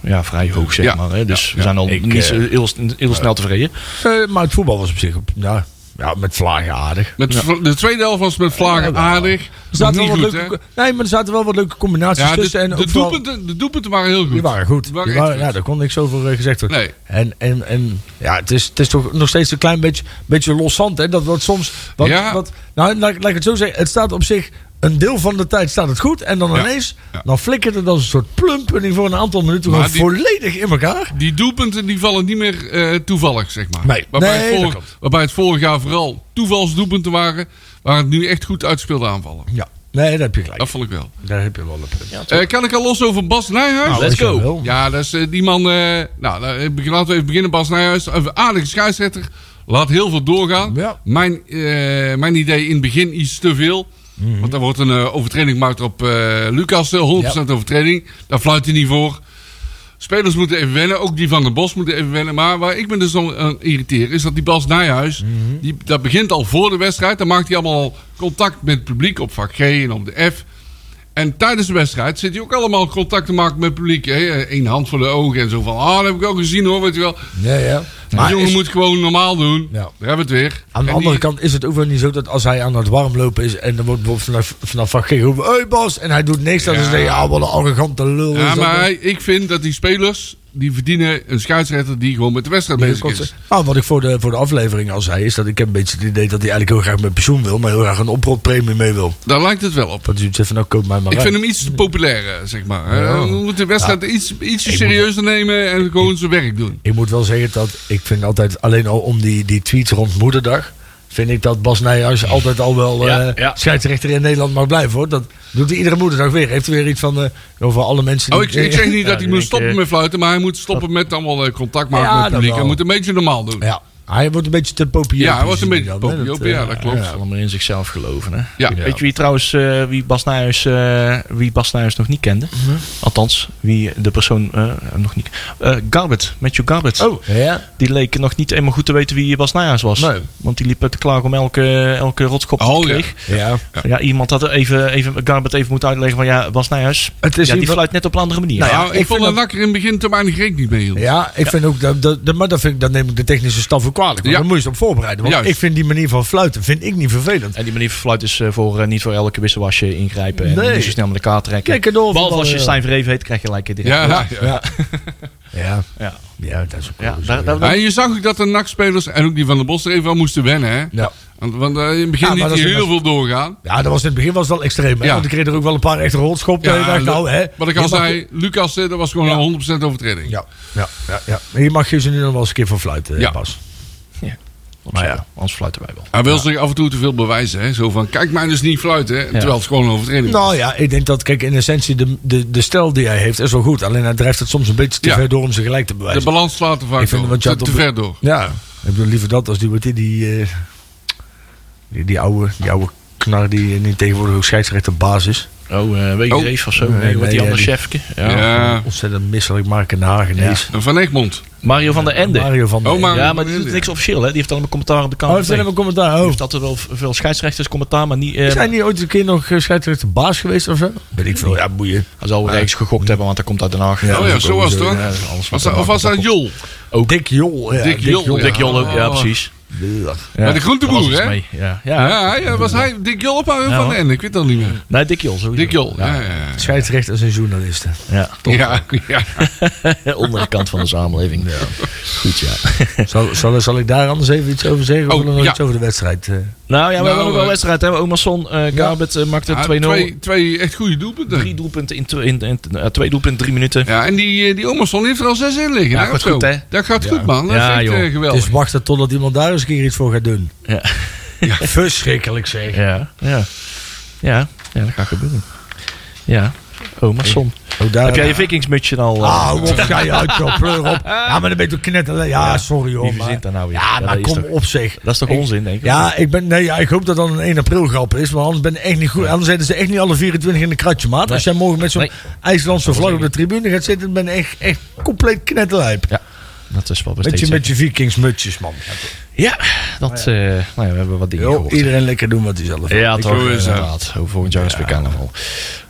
Speaker 2: ja, vrij hoog, zeg
Speaker 3: Ja.
Speaker 2: maar. Hè? Dus
Speaker 3: Ja.
Speaker 2: we zijn al
Speaker 4: Ik,
Speaker 2: niet
Speaker 4: eh,
Speaker 2: zo heel, heel snel tevreden.
Speaker 4: Eh, maar het voetbal was op zich op, ja, ja, met vlagen aardig.
Speaker 3: Met vla- De tweede helft was met vlagen aardig.
Speaker 4: Er zaten
Speaker 3: Nog
Speaker 4: wel
Speaker 3: niet
Speaker 4: wat
Speaker 3: goed,
Speaker 4: leuke,
Speaker 3: hè?
Speaker 4: nee, maar er zaten wel wat leuke combinaties
Speaker 3: Ja, de,
Speaker 4: tussen. En
Speaker 3: de
Speaker 4: ook vooral-
Speaker 3: doelpunten, de doelpunten waren heel goed.
Speaker 4: die waren goed.
Speaker 3: Die
Speaker 4: Die
Speaker 3: waren
Speaker 4: waren
Speaker 3: echt goed.
Speaker 4: ja, daar kon niks over eh, gezegd worden.
Speaker 3: Nee.
Speaker 4: En, en, en ja, het is, het is toch nog steeds een klein beetje, beetje loszand. Hè? Dat wordt soms. Wat,
Speaker 3: Ja.
Speaker 4: wat, nou, laat, ik- laat ik het zo zeggen. Het staat op zich. Een deel van de tijd staat het goed. En dan
Speaker 3: Ja.
Speaker 4: ineens.
Speaker 3: Ja.
Speaker 4: Dan flikkert het als een soort plump. En die voor een aantal minuten
Speaker 3: Maar
Speaker 4: gewoon
Speaker 3: die-
Speaker 4: volledig in elkaar.
Speaker 3: Die doelpunten die vallen niet meer eh, toevallig, zeg maar.
Speaker 4: Nee.
Speaker 3: Waarbij,
Speaker 4: Nee,
Speaker 3: het
Speaker 4: dat
Speaker 3: vorig, waarbij het vorig jaar vooral toevalsdoelpunten waren, waar het nu echt goed uitgespeelde aanvallen.
Speaker 4: Ja. Nee, daar heb je gelijk.
Speaker 3: Dat vond ik wel.
Speaker 4: Daar heb je wel een punt. Ja,
Speaker 3: Eh, kan ik al los over Bas Nijhuis?
Speaker 4: Ah, Nou,
Speaker 2: let's go.
Speaker 3: Ja, dat is eh, die man. eh, nou, nou, eh, beg- laten we even beginnen. Bas Nijhuis, een aardige scheidsrechter. Laat heel veel doorgaan.
Speaker 4: Ja.
Speaker 3: Mijn, eh, mijn idee in het begin iets te veel.
Speaker 4: Mhm.
Speaker 3: Want daar wordt een eh, overtreding gemaakt op eh, Lucas. eh, 100% overtreding. Daar fluit hij niet voor. Spelers moeten even wennen. Ook die van de Bos moeten even wennen. Maar waar ik me dus aan aan irriteer is dat die Bas Nijhuis...
Speaker 4: Mhm.
Speaker 3: die, dat begint al voor de wedstrijd. Dan maakt hij allemaal contact met het publiek op vak G en op de F. En tijdens de wedstrijd zit hij ook allemaal contact te maken met het publiek. hè. Eén hand voor de ogen en zo van... Ah, dat heb ik ook gezien hoor, weet je wel.
Speaker 4: ja. ja.
Speaker 3: Maar jongen
Speaker 4: is-
Speaker 3: moet gewoon normaal doen.
Speaker 4: Ja.
Speaker 3: Daar hebben we het weer.
Speaker 4: Aan de
Speaker 3: En
Speaker 4: andere
Speaker 3: die-
Speaker 4: kant is het ook wel niet zo dat als hij aan het warmlopen is en dan wordt bijvoorbeeld vanaf, vanaf van G geroepen, hey Bas, en hij doet niks, dan
Speaker 3: Ja.
Speaker 4: is hij, ja, wat een arrogante lul.
Speaker 3: Ja,
Speaker 4: is dat."
Speaker 3: maar hij- ik vind dat die spelers... die verdienen een scheidsrechter die gewoon met de wedstrijd
Speaker 4: Die
Speaker 3: bezig
Speaker 4: kotsen.
Speaker 3: is.
Speaker 4: Nou, wat ik voor de, voor de aflevering al zei, is dat ik heb een beetje het idee dat hij eigenlijk heel graag met pensioen wil, maar heel graag een oprotpremie mee wil.
Speaker 3: Daar lijkt het wel op.
Speaker 4: Dat hij zegt van, nou, koop mij maar
Speaker 3: Ik
Speaker 4: uit.
Speaker 3: vind hem iets te populair, eh, zeg maar. Eh, We moeten de wedstrijd iets, ietsje serieuzer nemen en gewoon zijn werk doen.
Speaker 4: Ik moet wel zeggen dat ik vind altijd, alleen al om die, die tweets rond moederdag, vind ik dat Bas Nijhuis altijd al wel
Speaker 2: Ja,
Speaker 4: eh,
Speaker 2: ja.
Speaker 4: scheidsrechter in Nederland mag blijven, hoor. Dat doet hij iedere moederdag weer. Heeft hij weer iets van, eh, over alle mensen die...
Speaker 3: Oh, ik,
Speaker 4: [laughs]
Speaker 3: ik zeg niet dat
Speaker 2: die
Speaker 3: hij moet
Speaker 2: denk,
Speaker 3: stoppen
Speaker 2: eh,
Speaker 3: met fluiten, maar hij moet stoppen met allemaal eh, contact maken
Speaker 4: Ja,
Speaker 3: met het
Speaker 4: dat
Speaker 3: publiek. Hij
Speaker 4: wel.
Speaker 3: moet een beetje normaal doen.
Speaker 4: Ja, Hij wordt een beetje te populair.
Speaker 3: Ja, hij wordt een beetje te popiopië,
Speaker 4: eh,
Speaker 3: ja, dat klopt.
Speaker 2: Ja, allemaal in zichzelf geloven. Hè?
Speaker 3: Ja.
Speaker 2: Weet je wie trouwens, eh, wie, Bas Nijhuis, eh, wie Bas Nijhuis nog niet kende?
Speaker 3: Mhm.
Speaker 2: Althans, wie de persoon eh, nog niet... eh Garbett, Matthew Garbett.
Speaker 4: Oh, ja.
Speaker 2: Die leek nog niet eenmaal goed te weten wie Bas Nijhuis was.
Speaker 4: Nee.
Speaker 2: Want die liep te klagen om elke, elke rotskop die
Speaker 3: Oh,
Speaker 2: hij
Speaker 3: ja.
Speaker 2: kreeg.
Speaker 4: ja.
Speaker 2: Ja. iemand had er even, even Garbett even moeten uitleggen van ja, Bas Nijhuis.
Speaker 4: Het is
Speaker 2: ja, die
Speaker 4: iemand-
Speaker 2: fluit net op een andere manier.
Speaker 4: Nou ja,
Speaker 3: Nou, ik,
Speaker 4: ik
Speaker 3: vond
Speaker 4: vind
Speaker 3: dat Nakker in het begin te weinig rekening mee hield.
Speaker 4: Ja, ik vind ook dat, dat, dat- maar dat, vind ik, dat neem ik de technische staf ook kwalijk. Want
Speaker 3: Ja.
Speaker 4: Dan moet je ze op voorbereiden. Want
Speaker 3: Juist.
Speaker 4: ik vind die manier van fluiten vind ik niet vervelend.
Speaker 2: En die manier van fluit is eh, voor, eh, niet voor elke wisselwasje ingrijpen. En
Speaker 4: Nee.
Speaker 2: niet zo snel met elkaar trekken.
Speaker 4: Lekker door, eh.
Speaker 2: Behalve als je
Speaker 4: voetballen,
Speaker 2: Stijn Verheven heet, krijg je gelijk eh, direct.
Speaker 3: Ja, ja, ja.
Speaker 4: [laughs] Ja,
Speaker 2: ja.
Speaker 4: ja dat is ook
Speaker 2: Ja,
Speaker 4: wel zo,
Speaker 2: daar- daar-
Speaker 3: Ja, en je zag ook dat de NAC-spelers en ook die van de Bos er even aan moesten wennen. Hè?
Speaker 4: Ja.
Speaker 3: Want, want, eh, in het
Speaker 4: Ja,
Speaker 3: begin
Speaker 4: maar
Speaker 3: niet
Speaker 4: dat is-
Speaker 3: heel veel doorgaan.
Speaker 4: Ja, dat was in het begin was het wel extreem. hè?
Speaker 3: Ja.
Speaker 4: Want ik kreeg er ook wel een paar echte rolschoppen. Ja, dacht, nou, hè,
Speaker 3: wat ik
Speaker 4: je
Speaker 3: al
Speaker 4: mag-
Speaker 3: zei, Lucas, eh, dat was gewoon een 100% overtreding.
Speaker 4: Ja, ja, ja, ja. Maar Hier mag je ze nu nog wel eens een keer voor fluiten,
Speaker 3: Ja.
Speaker 4: ja. Bas.
Speaker 2: Maar
Speaker 4: ja.
Speaker 2: ja, anders fluiten wij wel.
Speaker 3: Hij wil zich af en toe te veel bewijzen. Hè? Zo van, kijk mij dus niet fluiten. Hè? Terwijl het gewoon een overtreding was.
Speaker 4: Nou ja, ik denk dat, kijk, in essentie, de, de, de stijl die hij heeft is wel goed. Alleen hij drijft het soms een beetje te
Speaker 3: Ja.
Speaker 4: ver door om ze gelijk te
Speaker 3: De
Speaker 4: bewijzen.
Speaker 3: balans slaat er vaak
Speaker 4: Ik vind
Speaker 3: door.
Speaker 4: wat je
Speaker 3: Zit
Speaker 4: had
Speaker 3: te
Speaker 4: op-
Speaker 3: ver door.
Speaker 4: ja, ik bedoel liever dat als die, wat die, die, eh, die, die oude, die oude knar die, eh, die tegenwoordig ook scheidsrechterbaas is.
Speaker 2: Oh, eh weet je
Speaker 3: Oh.
Speaker 2: Reef of zo?
Speaker 4: Nee,
Speaker 2: Nee, wat
Speaker 4: nee,
Speaker 2: die
Speaker 4: ja,
Speaker 2: andere
Speaker 4: die-
Speaker 2: chefke. Ja.
Speaker 3: Ja.
Speaker 4: Ontzettend misselijk Mark en Hagenees.
Speaker 3: Van Egmond.
Speaker 2: Mario van der Ende.
Speaker 4: Mario van der
Speaker 3: Oh, maar-
Speaker 2: Ja, maar die doet niks officieel, hè? Die heeft allemaal commentaar op de
Speaker 4: Oh,
Speaker 2: kant.
Speaker 4: heeft hij
Speaker 2: Nee.
Speaker 4: even een commentaar?
Speaker 2: Die
Speaker 4: Oh.
Speaker 2: heeft altijd wel v- veel scheidsrechters commentaar, maar niet... eh,
Speaker 4: Zijn die ooit een keer nog eh, scheidsrechterbaas geweest of zo? Weet ik veel, ja, boeien.
Speaker 2: hij zal wel ergens gegokt hebben, want hij komt uit Den Haag.
Speaker 4: Ja,
Speaker 3: oh ja,
Speaker 4: dat is
Speaker 3: zo
Speaker 4: ook
Speaker 3: was het
Speaker 4: zo,
Speaker 3: hoor.
Speaker 4: ja, dat
Speaker 2: alles wat
Speaker 3: Was dat-
Speaker 2: te
Speaker 3: of was dat
Speaker 2: maken.
Speaker 3: Jol?
Speaker 4: Dick Jol. Ja,
Speaker 3: Dick Jol, ja.
Speaker 2: Dick Jol ook, ja,
Speaker 3: Oh.
Speaker 2: precies.
Speaker 4: Blech.
Speaker 2: Ja,
Speaker 3: de groenteboer,
Speaker 2: daar was iets
Speaker 3: hè?
Speaker 2: mee, Ja, ja.
Speaker 3: Ja, ja, was hij Dick Jol op haar
Speaker 2: Ja,
Speaker 3: van
Speaker 2: hoor.
Speaker 3: en Ik weet dat niet meer.
Speaker 2: Nee, Dick Jol. sowieso.
Speaker 3: Dick Jol. Ja, ja,
Speaker 4: Scheidsrechters en journalisten.
Speaker 2: Ja,
Speaker 3: ja. ja.
Speaker 2: ja. Andere kant van de samenleving. Goed, ja. [laughs]
Speaker 4: Zal, zal, zal ik daar anders even iets over zeggen?
Speaker 3: Oh,
Speaker 4: of willen we nog
Speaker 3: ja.
Speaker 4: iets over de wedstrijd? eh?
Speaker 2: Nou ja, we
Speaker 3: Nou,
Speaker 2: hebben nog wel
Speaker 3: eh,
Speaker 2: een wedstrijd. hè. Omerson, eh Garbett eh, maakte
Speaker 3: Ja, Ah,
Speaker 2: 2-0.
Speaker 3: Twee, twee echt goede
Speaker 2: Drie
Speaker 3: doelpunten.
Speaker 2: doelpunten in, tw- in, in, eh, twee doelpunten in drie minuten.
Speaker 3: Ja, en die, eh, die Omerson heeft er al zes in liggen.
Speaker 2: Ja,
Speaker 3: hè,
Speaker 2: gaat
Speaker 3: of zo.
Speaker 2: goed, hè?
Speaker 3: Dat gaat goed, man. Dat
Speaker 2: Ja,
Speaker 3: is echt
Speaker 2: joh.
Speaker 3: eh, geweldig.
Speaker 4: Dus wachten totdat iemand daar eens een keer iets voor gaat doen.
Speaker 2: Ja.
Speaker 4: Verschrikkelijk zeg.
Speaker 2: Ja, ja. Ja, ja dat gaat gebeuren. Ja, Omerson.
Speaker 4: Ook Oh, daar,
Speaker 2: Heb jij je vikingsmutsje al? eh,
Speaker 4: Ah, hou op, ga je uit, joh, pleur op. Ja, maar dan ben je toch knetter. Ja, sorry hoor.
Speaker 2: Wie
Speaker 4: maar-
Speaker 2: verzint daar nou weer?
Speaker 4: Ja,
Speaker 2: Ja,
Speaker 4: maar
Speaker 2: dat is
Speaker 4: kom
Speaker 2: toch-
Speaker 4: op zeg.
Speaker 2: dat is toch
Speaker 4: Ik-
Speaker 2: onzin, denk ik?
Speaker 4: Ja, ik, ben, nee, ja, ik hoop dat dat een 1 april grap is. Want anders ben ik echt niet goed. Anders zitten ze echt niet alle 24 in de kratje, maat. Als jij morgen met zo'n
Speaker 2: Nee.
Speaker 4: IJslandse vlag op de tribune gaat zitten, dan ben ik echt, echt compleet knetterlijp.
Speaker 2: Ja, dat is wat we
Speaker 4: Met je,
Speaker 2: steeds
Speaker 4: met je vikingsmutsjes, man.
Speaker 2: Ja, dat, eh nou ja, we hebben wat dingen
Speaker 4: Joh,
Speaker 2: gehoord.
Speaker 4: iedereen lekker doen wat hij zelf wil.
Speaker 2: Ja, toch,
Speaker 3: wil eens, eh,
Speaker 2: inderdaad. Ook Volgend jaar is weer carnaval.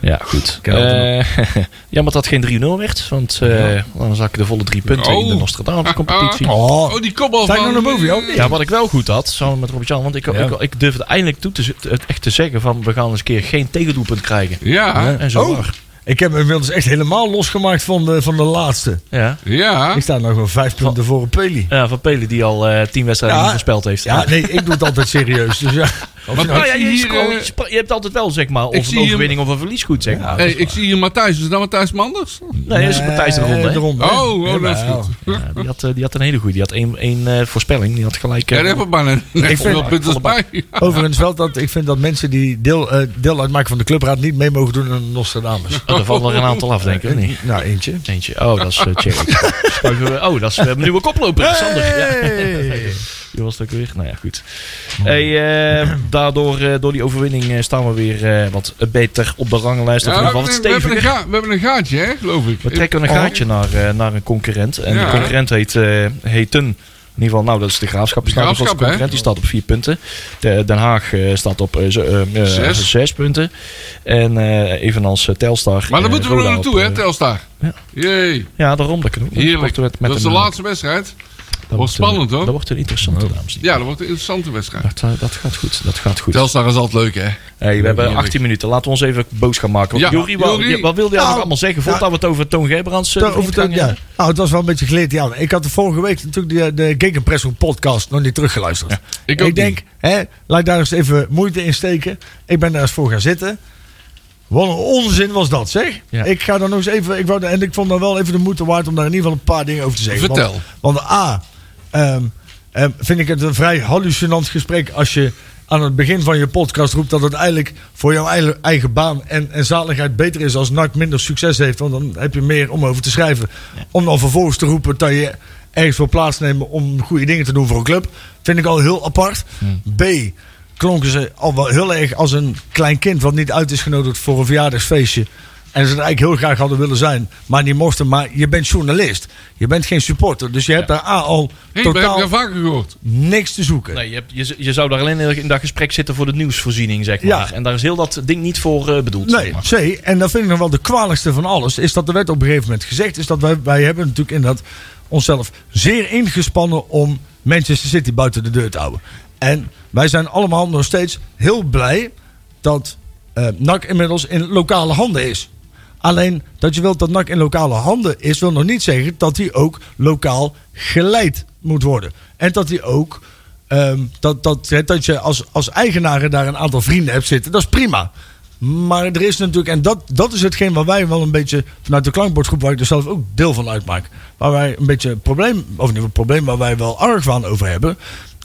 Speaker 2: Ja, goed.
Speaker 4: Ken dat
Speaker 2: Eh, [laughs] jammer dat het geen 3-0 werd, want eh, dan zak ik de volle drie punten in de
Speaker 3: Oh.
Speaker 2: Nostradamus-competitie.
Speaker 4: Oh,
Speaker 3: [laughs] Oh, die kopbal
Speaker 4: Zijn
Speaker 3: van... eh,
Speaker 4: we nog een movie ook?
Speaker 2: Ja, wat ik wel goed had, samen met Robert-Jan, want ik, ik, ik durfde eindelijk toe te, z- het echt te zeggen van we gaan eens een keer geen tegendoelpunt krijgen.
Speaker 3: Ja,
Speaker 2: En zo
Speaker 4: Oh.
Speaker 2: maar.
Speaker 4: ik heb me inmiddels echt helemaal losgemaakt van de, van de laatste.
Speaker 2: Ja.
Speaker 3: ja.
Speaker 4: Ik sta nog wel vijf punten voor een Peli.
Speaker 2: ja, van Pelen die al eh tien wedstrijden
Speaker 4: Ja.
Speaker 2: niet gespeeld heeft.
Speaker 4: Ja, nee, ik doe het altijd serieus. Dus ja.
Speaker 3: Want
Speaker 2: Nou ja,
Speaker 3: ik zie
Speaker 2: je,
Speaker 3: hier,
Speaker 2: scro- je
Speaker 3: eh,
Speaker 2: sp- je hebt altijd wel zeg maar
Speaker 3: ik
Speaker 2: of
Speaker 3: zie
Speaker 2: een
Speaker 3: hier-
Speaker 2: overwinning of een verlies goed zeg maar.
Speaker 3: Hey, ik zie hier Matthijs. Is dat Matthijs Manders?
Speaker 2: Nee, dat is Matthijs de Ronde. hè?
Speaker 4: Eh, de ronde, hè?
Speaker 3: Oh, oh, dat is
Speaker 4: Jawel.
Speaker 3: goed.
Speaker 2: Ja, die, had, eh, die had een hele goede. Die had één, één eh, voorspelling. Die had gelijk. eh,
Speaker 3: Ja, daar hebben we bijna net [laughs]
Speaker 4: vind-
Speaker 3: zoveel punten bij. Ja.
Speaker 4: Overigens wel dat ik vind dat mensen die deel, eh, deel uitmaken van de clubraad niet mee mogen doen aan Nostradamus.
Speaker 2: oh, er vallen er een aantal af, denk ik. of niet?
Speaker 4: Nou, eentje.
Speaker 2: Eentje. Oh, dat is eh, check.
Speaker 3: [laughs]
Speaker 2: Schuiven we- Oh, dat is een nieuwe koploper. Sander. Ja. [laughs]
Speaker 4: Hey.
Speaker 2: Die was het ook weer. Nou ja, goed. Hey, eh, daardoor, eh, door die overwinning, eh, staan we weer eh, wat beter op de ranglijst. Of in
Speaker 3: Ja,
Speaker 2: ieder geval
Speaker 3: we,
Speaker 2: wat
Speaker 3: hebben- we hebben een
Speaker 2: steviger.
Speaker 3: ga- we hebben een gaatje, hè, geloof ik.
Speaker 2: We trekken een
Speaker 4: Oh.
Speaker 2: gaatje naar, eh, naar een concurrent. En
Speaker 3: Ja.
Speaker 2: de concurrent heet, eh heet een. In ieder geval, nou, dat is de Graafschap. Die
Speaker 3: De
Speaker 2: staat op als
Speaker 3: Graafschap,
Speaker 2: concurrent. Die staat op vier punten. De- Den Haag eh, staat op eh, zo- eh, eh,
Speaker 3: Zes.
Speaker 2: zes punten. En eh, evenals eh, Telstar.
Speaker 3: Maar daar
Speaker 2: eh,
Speaker 3: moeten we
Speaker 2: Roda
Speaker 3: nog naartoe,
Speaker 2: op,
Speaker 3: hè,
Speaker 2: eh,
Speaker 3: Telstar.
Speaker 2: ja.
Speaker 3: Jee,
Speaker 2: Ja, daarom. Dat, kan ook.
Speaker 3: heerlijk.
Speaker 2: sporten we het met
Speaker 3: Dat is de
Speaker 2: een- eh,
Speaker 3: laatste wedstrijd.
Speaker 2: dat
Speaker 3: Wordt
Speaker 2: wordt, eh,
Speaker 3: spannend, hoor.
Speaker 2: Dat wordt een interessante, dames en heren.
Speaker 3: Ja, dat wordt een interessante wedstrijd.
Speaker 2: Dat, eh, dat gaat goed. Dat gaat goed.
Speaker 3: Telstar is altijd leuk, hè.
Speaker 2: Hey, we hebben
Speaker 3: Heerlijk.
Speaker 2: 18 minuten. Laten we ons even boos gaan maken. Want
Speaker 3: Ja,
Speaker 2: Jorie, wat,
Speaker 3: Jorie.
Speaker 2: wat wilde jij
Speaker 4: Nou,
Speaker 2: nog allemaal zeggen? Voordat
Speaker 4: ja.
Speaker 2: we het over Toon Gerbrands eh,
Speaker 4: Daar over het-
Speaker 2: gaan
Speaker 4: ja.
Speaker 2: hebben?
Speaker 4: Nou, het was wel een beetje geleerd, ja. Ik had de vorige week natuurlijk de, de Gegenpressing podcast nog niet teruggeluisterd.
Speaker 3: Ik ook
Speaker 4: denk, hè, laat ik daar eens even moeite in steken. Ik ben daar eens voor gaan zitten. Wat een onzin was dat, zeg.
Speaker 2: Ja.
Speaker 4: Ik ga dan nog eens even. Ik wou, en ik vond dan wel even de moeite waard om daar in ieder geval een paar dingen over te zeggen.
Speaker 3: Vertel.
Speaker 4: Want, want A, ehm, ehm, vind ik het een vrij hallucinant gesprek als je aan het begin van je podcast roept dat het eigenlijk voor jouw eigen, eigen baan en, en zaligheid beter is als NAC minder succes heeft. Want dan heb je meer om over te schrijven. Om dan vervolgens te roepen dat je ergens wil plaatsnemen om goede dingen te doen voor een club. Vind ik al heel apart. B. Klonken ze al wel heel erg als een klein kind wat niet uit is genodigd voor een verjaardagsfeestje. En ze het eigenlijk heel graag hadden willen zijn, maar niet mochten. Maar je bent journalist. Je bent geen supporter. Dus je hebt daar A al
Speaker 3: Hey, maar heb ik
Speaker 4: totaal
Speaker 3: dat vaker gehoord.
Speaker 4: niks te zoeken.
Speaker 2: Nee, je, hebt- je, z- je zou daar alleen in, in dat gesprek zitten voor de nieuwsvoorziening, zeg maar.
Speaker 4: Ja.
Speaker 2: En daar is heel dat ding niet voor eh, bedoeld. zeg
Speaker 4: Nee,
Speaker 2: maar.
Speaker 4: C. En dat vind ik nog wel de kwalijkste van alles. Is dat de wet op een gegeven moment gezegd is dat wij, wij hebben natuurlijk inderdaad onszelf zeer ingespannen om Manchester City buiten de deur te houden. En wij zijn allemaal nog steeds heel blij dat eh, NAC inmiddels in lokale handen is. Alleen dat je wilt dat NAC in lokale handen is, wil nog niet zeggen dat hij ook lokaal geleid moet worden. En dat hij ook. ehm, dat, dat, hè, dat je als, als eigenaar daar een aantal vrienden hebt zitten, dat is prima. Maar er is natuurlijk, en dat, dat is hetgeen waar wij wel een beetje vanuit de klankbordgroep, waar ik er zelf ook deel van uitmaak, waar wij een beetje een probleem, of niet een probleem, waar wij wel argwaan over hebben,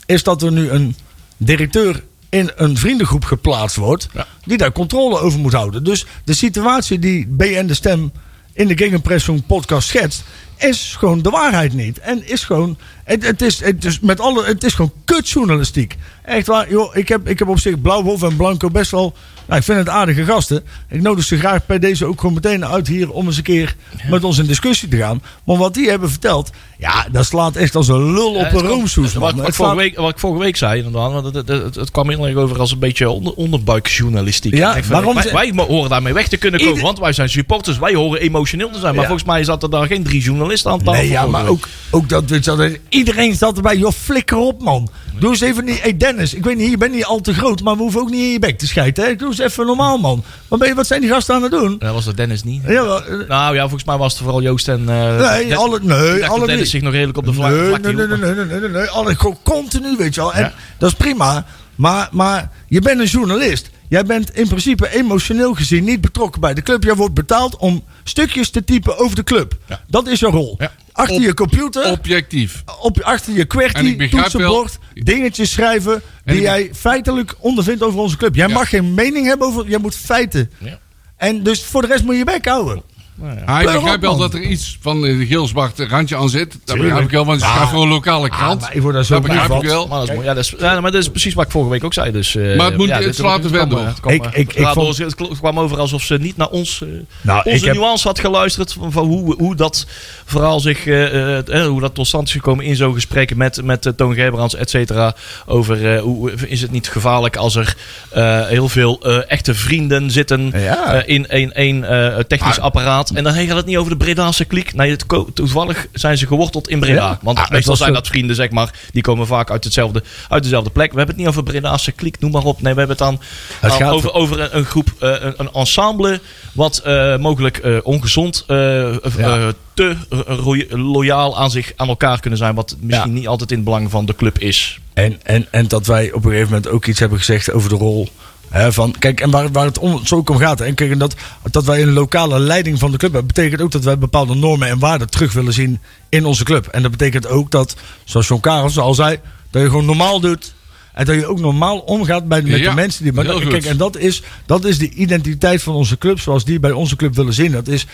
Speaker 4: is dat er nu een directeur in een vriendengroep geplaatst wordt, die daar controle over moet houden. Dus de situatie die BN de Stem in de Gegenpressing podcast schetst, is gewoon de waarheid niet. En is gewoon, het, het, is, het, is, met alle, het is gewoon kutjournalistiek. Echt waar, joh, ik heb, ik heb op zich Blauwhof en Blanco best wel, nou, ik vind het aardige gasten. Ik nodig ze graag bij deze ook gewoon meteen uit hier om eens een keer met ons in discussie te gaan. Maar wat die hebben verteld, ja, dat slaat echt als een lul
Speaker 2: Ja,
Speaker 4: op
Speaker 2: het
Speaker 4: een
Speaker 2: kwam-
Speaker 4: roomsoes, man.
Speaker 2: Wat, wat,
Speaker 4: Het
Speaker 2: ik
Speaker 4: slaat-
Speaker 2: vorige week, wat ik vorige week zei, inderdaad, want het, het, het, het kwam heel erg over als een beetje onder, onderbuikjournalistiek.
Speaker 4: Ja,
Speaker 2: Ik denk van,
Speaker 4: waarom
Speaker 2: wij,
Speaker 4: ze-
Speaker 2: wij mo- horen daarmee weg te kunnen komen,
Speaker 4: Ieder-
Speaker 2: want wij zijn supporters, wij horen emotioneel te zijn. Maar
Speaker 4: Ja.
Speaker 2: volgens mij zat er daar geen drie journalisten aan tafel.
Speaker 4: Nee, ja,
Speaker 2: vorige
Speaker 4: maar
Speaker 2: week.
Speaker 4: ook, ook dat, weet je wel, dat- iedereen zat erbij. Joh, flikker op, man. Doe eens even niet... Hey Dennis, ik weet niet, je bent niet al te groot, maar we hoeven ook niet in je bek te schijten. Hè? Doe eens even normaal, man. Wat, ben je, wat zijn die gasten aan het doen?
Speaker 2: Dat was dat Dennis niet.
Speaker 4: Ja, wel, eh,
Speaker 2: Nou ja, volgens mij was het vooral Joost en... eh,
Speaker 4: nee,
Speaker 2: Den-
Speaker 4: alle,
Speaker 2: ik
Speaker 4: nee,
Speaker 2: dacht dat
Speaker 4: alle drie.
Speaker 2: Dennis zich nog redelijk op de vlak,
Speaker 4: Nee,
Speaker 2: vlakte
Speaker 4: nee, nee,
Speaker 2: hield,
Speaker 4: nee,
Speaker 2: maar-
Speaker 4: nee, nee, nee, nee, nee. Alle, gewoon continu, weet je wel. En
Speaker 2: Ja.
Speaker 4: dat is prima. Maar, maar je bent een journalist. Jij bent in principe emotioneel gezien niet betrokken bij de club. Jij wordt betaald om stukjes te typen over de club.
Speaker 2: Ja.
Speaker 4: Dat is jouw rol.
Speaker 2: Ja.
Speaker 4: Achter
Speaker 3: Op-
Speaker 4: je computer.
Speaker 3: Objectief.
Speaker 4: op, achter je
Speaker 3: En ik
Speaker 4: kwertie,
Speaker 3: begrijp
Speaker 4: toetsenbord, dingetjes schrijven die
Speaker 3: ik-
Speaker 4: jij feitelijk ondervindt over onze club. Jij
Speaker 3: Ja.
Speaker 4: mag geen mening hebben over, jij moet feiten.
Speaker 2: Ja.
Speaker 4: En dus voor de rest moet je je bek houden.
Speaker 3: Ah, ik
Speaker 4: Pleur op,
Speaker 3: begrijp wel
Speaker 4: man.
Speaker 3: dat er iets van eh, geel-zwart randje aan zit. Dat
Speaker 4: Tuurlijk.
Speaker 3: begrijp ik wel, want het
Speaker 4: Ja.
Speaker 3: gaat voor een lokale krant.
Speaker 4: maar ik word daar zo
Speaker 3: dat begrijp
Speaker 4: blij
Speaker 3: ik
Speaker 4: van.
Speaker 3: wel.
Speaker 2: Maar dat is mooi. Ja, dat is, ja, maar dat is precies wat ik vorige week ook zei. Dus,
Speaker 3: Maar het moet- het slaat te ver door.
Speaker 4: Ik- ik- ik vond-
Speaker 2: Het kl- kwam over alsof ze niet naar ons, eh,
Speaker 4: Nou, ik
Speaker 2: onze
Speaker 4: heb-
Speaker 2: nuance had geluisterd. Van, van hoe, hoe dat verhaal zich, eh, eh, eh, hoe dat tot stand is gekomen in zo'n gesprek met, met eh, Toon Gerbrands, et cetera. Over eh, hoe is het niet gevaarlijk als er eh, heel veel eh, echte vrienden zitten
Speaker 4: Ja. Ah.
Speaker 2: eh, in één één, eh, technisch apparaat. En dan gaat het niet over de Bredaanse kliek. Nee, het ko- toevallig zijn ze geworteld in Breda.
Speaker 4: Ja.
Speaker 2: Want
Speaker 4: Ah, het
Speaker 2: meestal
Speaker 4: was
Speaker 2: zijn
Speaker 4: zo-
Speaker 2: dat vrienden, zeg maar. Die komen vaak uit, hetzelfde, uit dezelfde plek. We hebben het niet over Bredaanse kliek, noem maar op. Nee, we hebben het dan
Speaker 4: Het
Speaker 2: aan-
Speaker 4: gaat-
Speaker 2: over, over een, een groep, eh, een, een ensemble... wat eh, mogelijk eh, ongezond, eh, eh,
Speaker 4: Ja.
Speaker 2: eh, te roy- loyaal aan, zich, aan elkaar kunnen zijn... wat misschien niet altijd in het belang van de club is.
Speaker 4: En, en, en dat wij op een gegeven moment ook iets hebben gezegd over de rol. Hè, van, kijk, en waar, waar het om, zo ook om gaat. hè, En kijk, en dat, dat wij een lokale leiding van de club hebben, betekent ook dat wij bepaalde normen en waarden terug willen zien in onze club. En dat betekent ook dat, zoals John Karels al zei, dat je gewoon normaal doet. En dat je ook normaal omgaat bij, met
Speaker 3: Ja,
Speaker 4: de mensen die. Maar
Speaker 3: heel
Speaker 4: dat-
Speaker 3: goed.
Speaker 4: kijk, en dat is, dat is de identiteit van onze club, zoals die bij onze club willen zien. Dat is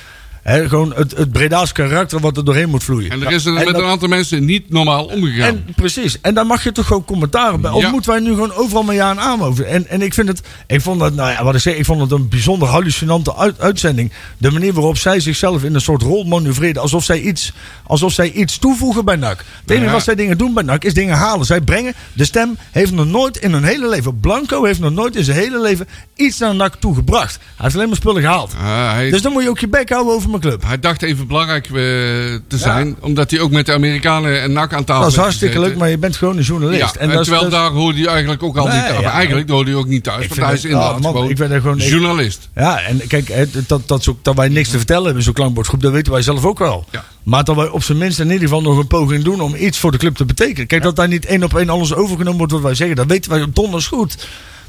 Speaker 4: hè, gewoon het, het Breda's karakter wat er doorheen moet vloeien.
Speaker 3: En er is er met
Speaker 4: dat-
Speaker 3: een aantal mensen niet normaal omgegaan.
Speaker 4: en precies. En daar mag je toch gewoon commentaar op bij. Of
Speaker 3: Ja.
Speaker 4: moeten wij nu gewoon overal maar ja en aan over? En, en ik vind het, ik vond het, nou ja, wat ik zeg, ik vond het een bijzonder hallucinante uit- uitzending. De manier waarop zij zichzelf in een soort rol manoeuvreerden. Alsof zij iets, alsof zij iets toevoegen bij NAC. Het enige
Speaker 3: Ja.
Speaker 4: wat zij dingen doen bij NAC is dingen halen. Zij brengen, de stem heeft nog nooit in hun hele leven, Blanco heeft nog nooit in zijn hele leven iets naar NAC toegebracht. Hij heeft alleen maar spullen gehaald.
Speaker 3: Ah, hij,
Speaker 4: Dus dan moet je ook je bek houden over mijn club.
Speaker 3: hij dacht even belangrijk eh, te zijn, omdat hij ook met de Amerikanen en NAC aan tafel
Speaker 4: Dat is
Speaker 3: heeft
Speaker 4: hartstikke
Speaker 3: gezeten.
Speaker 4: leuk, maar je bent gewoon een journalist.
Speaker 3: Ja, en
Speaker 4: dat is-
Speaker 3: terwijl
Speaker 4: dat is-
Speaker 3: daar hoorde hij eigenlijk ook al
Speaker 4: Nee,
Speaker 3: niet thuis.
Speaker 4: ja.
Speaker 3: eigenlijk hoorde hij ook niet thuis, want
Speaker 4: vind
Speaker 3: hij
Speaker 4: het-
Speaker 3: is inderdaad
Speaker 4: ah, man,
Speaker 3: gewoon,
Speaker 4: ik ben er gewoon- ik-
Speaker 3: journalist.
Speaker 4: Ja, en kijk, hè, dat, dat, zo- dat wij niks te vertellen hebben, zo'n klankbordgroep, dat weten wij zelf ook wel.
Speaker 3: Ja.
Speaker 4: Maar dat wij op zijn minst in ieder geval nog een poging doen om iets voor de club te betekenen. Kijk, dat daar niet één op één alles overgenomen wordt wat wij zeggen, dat weten wij donders goed.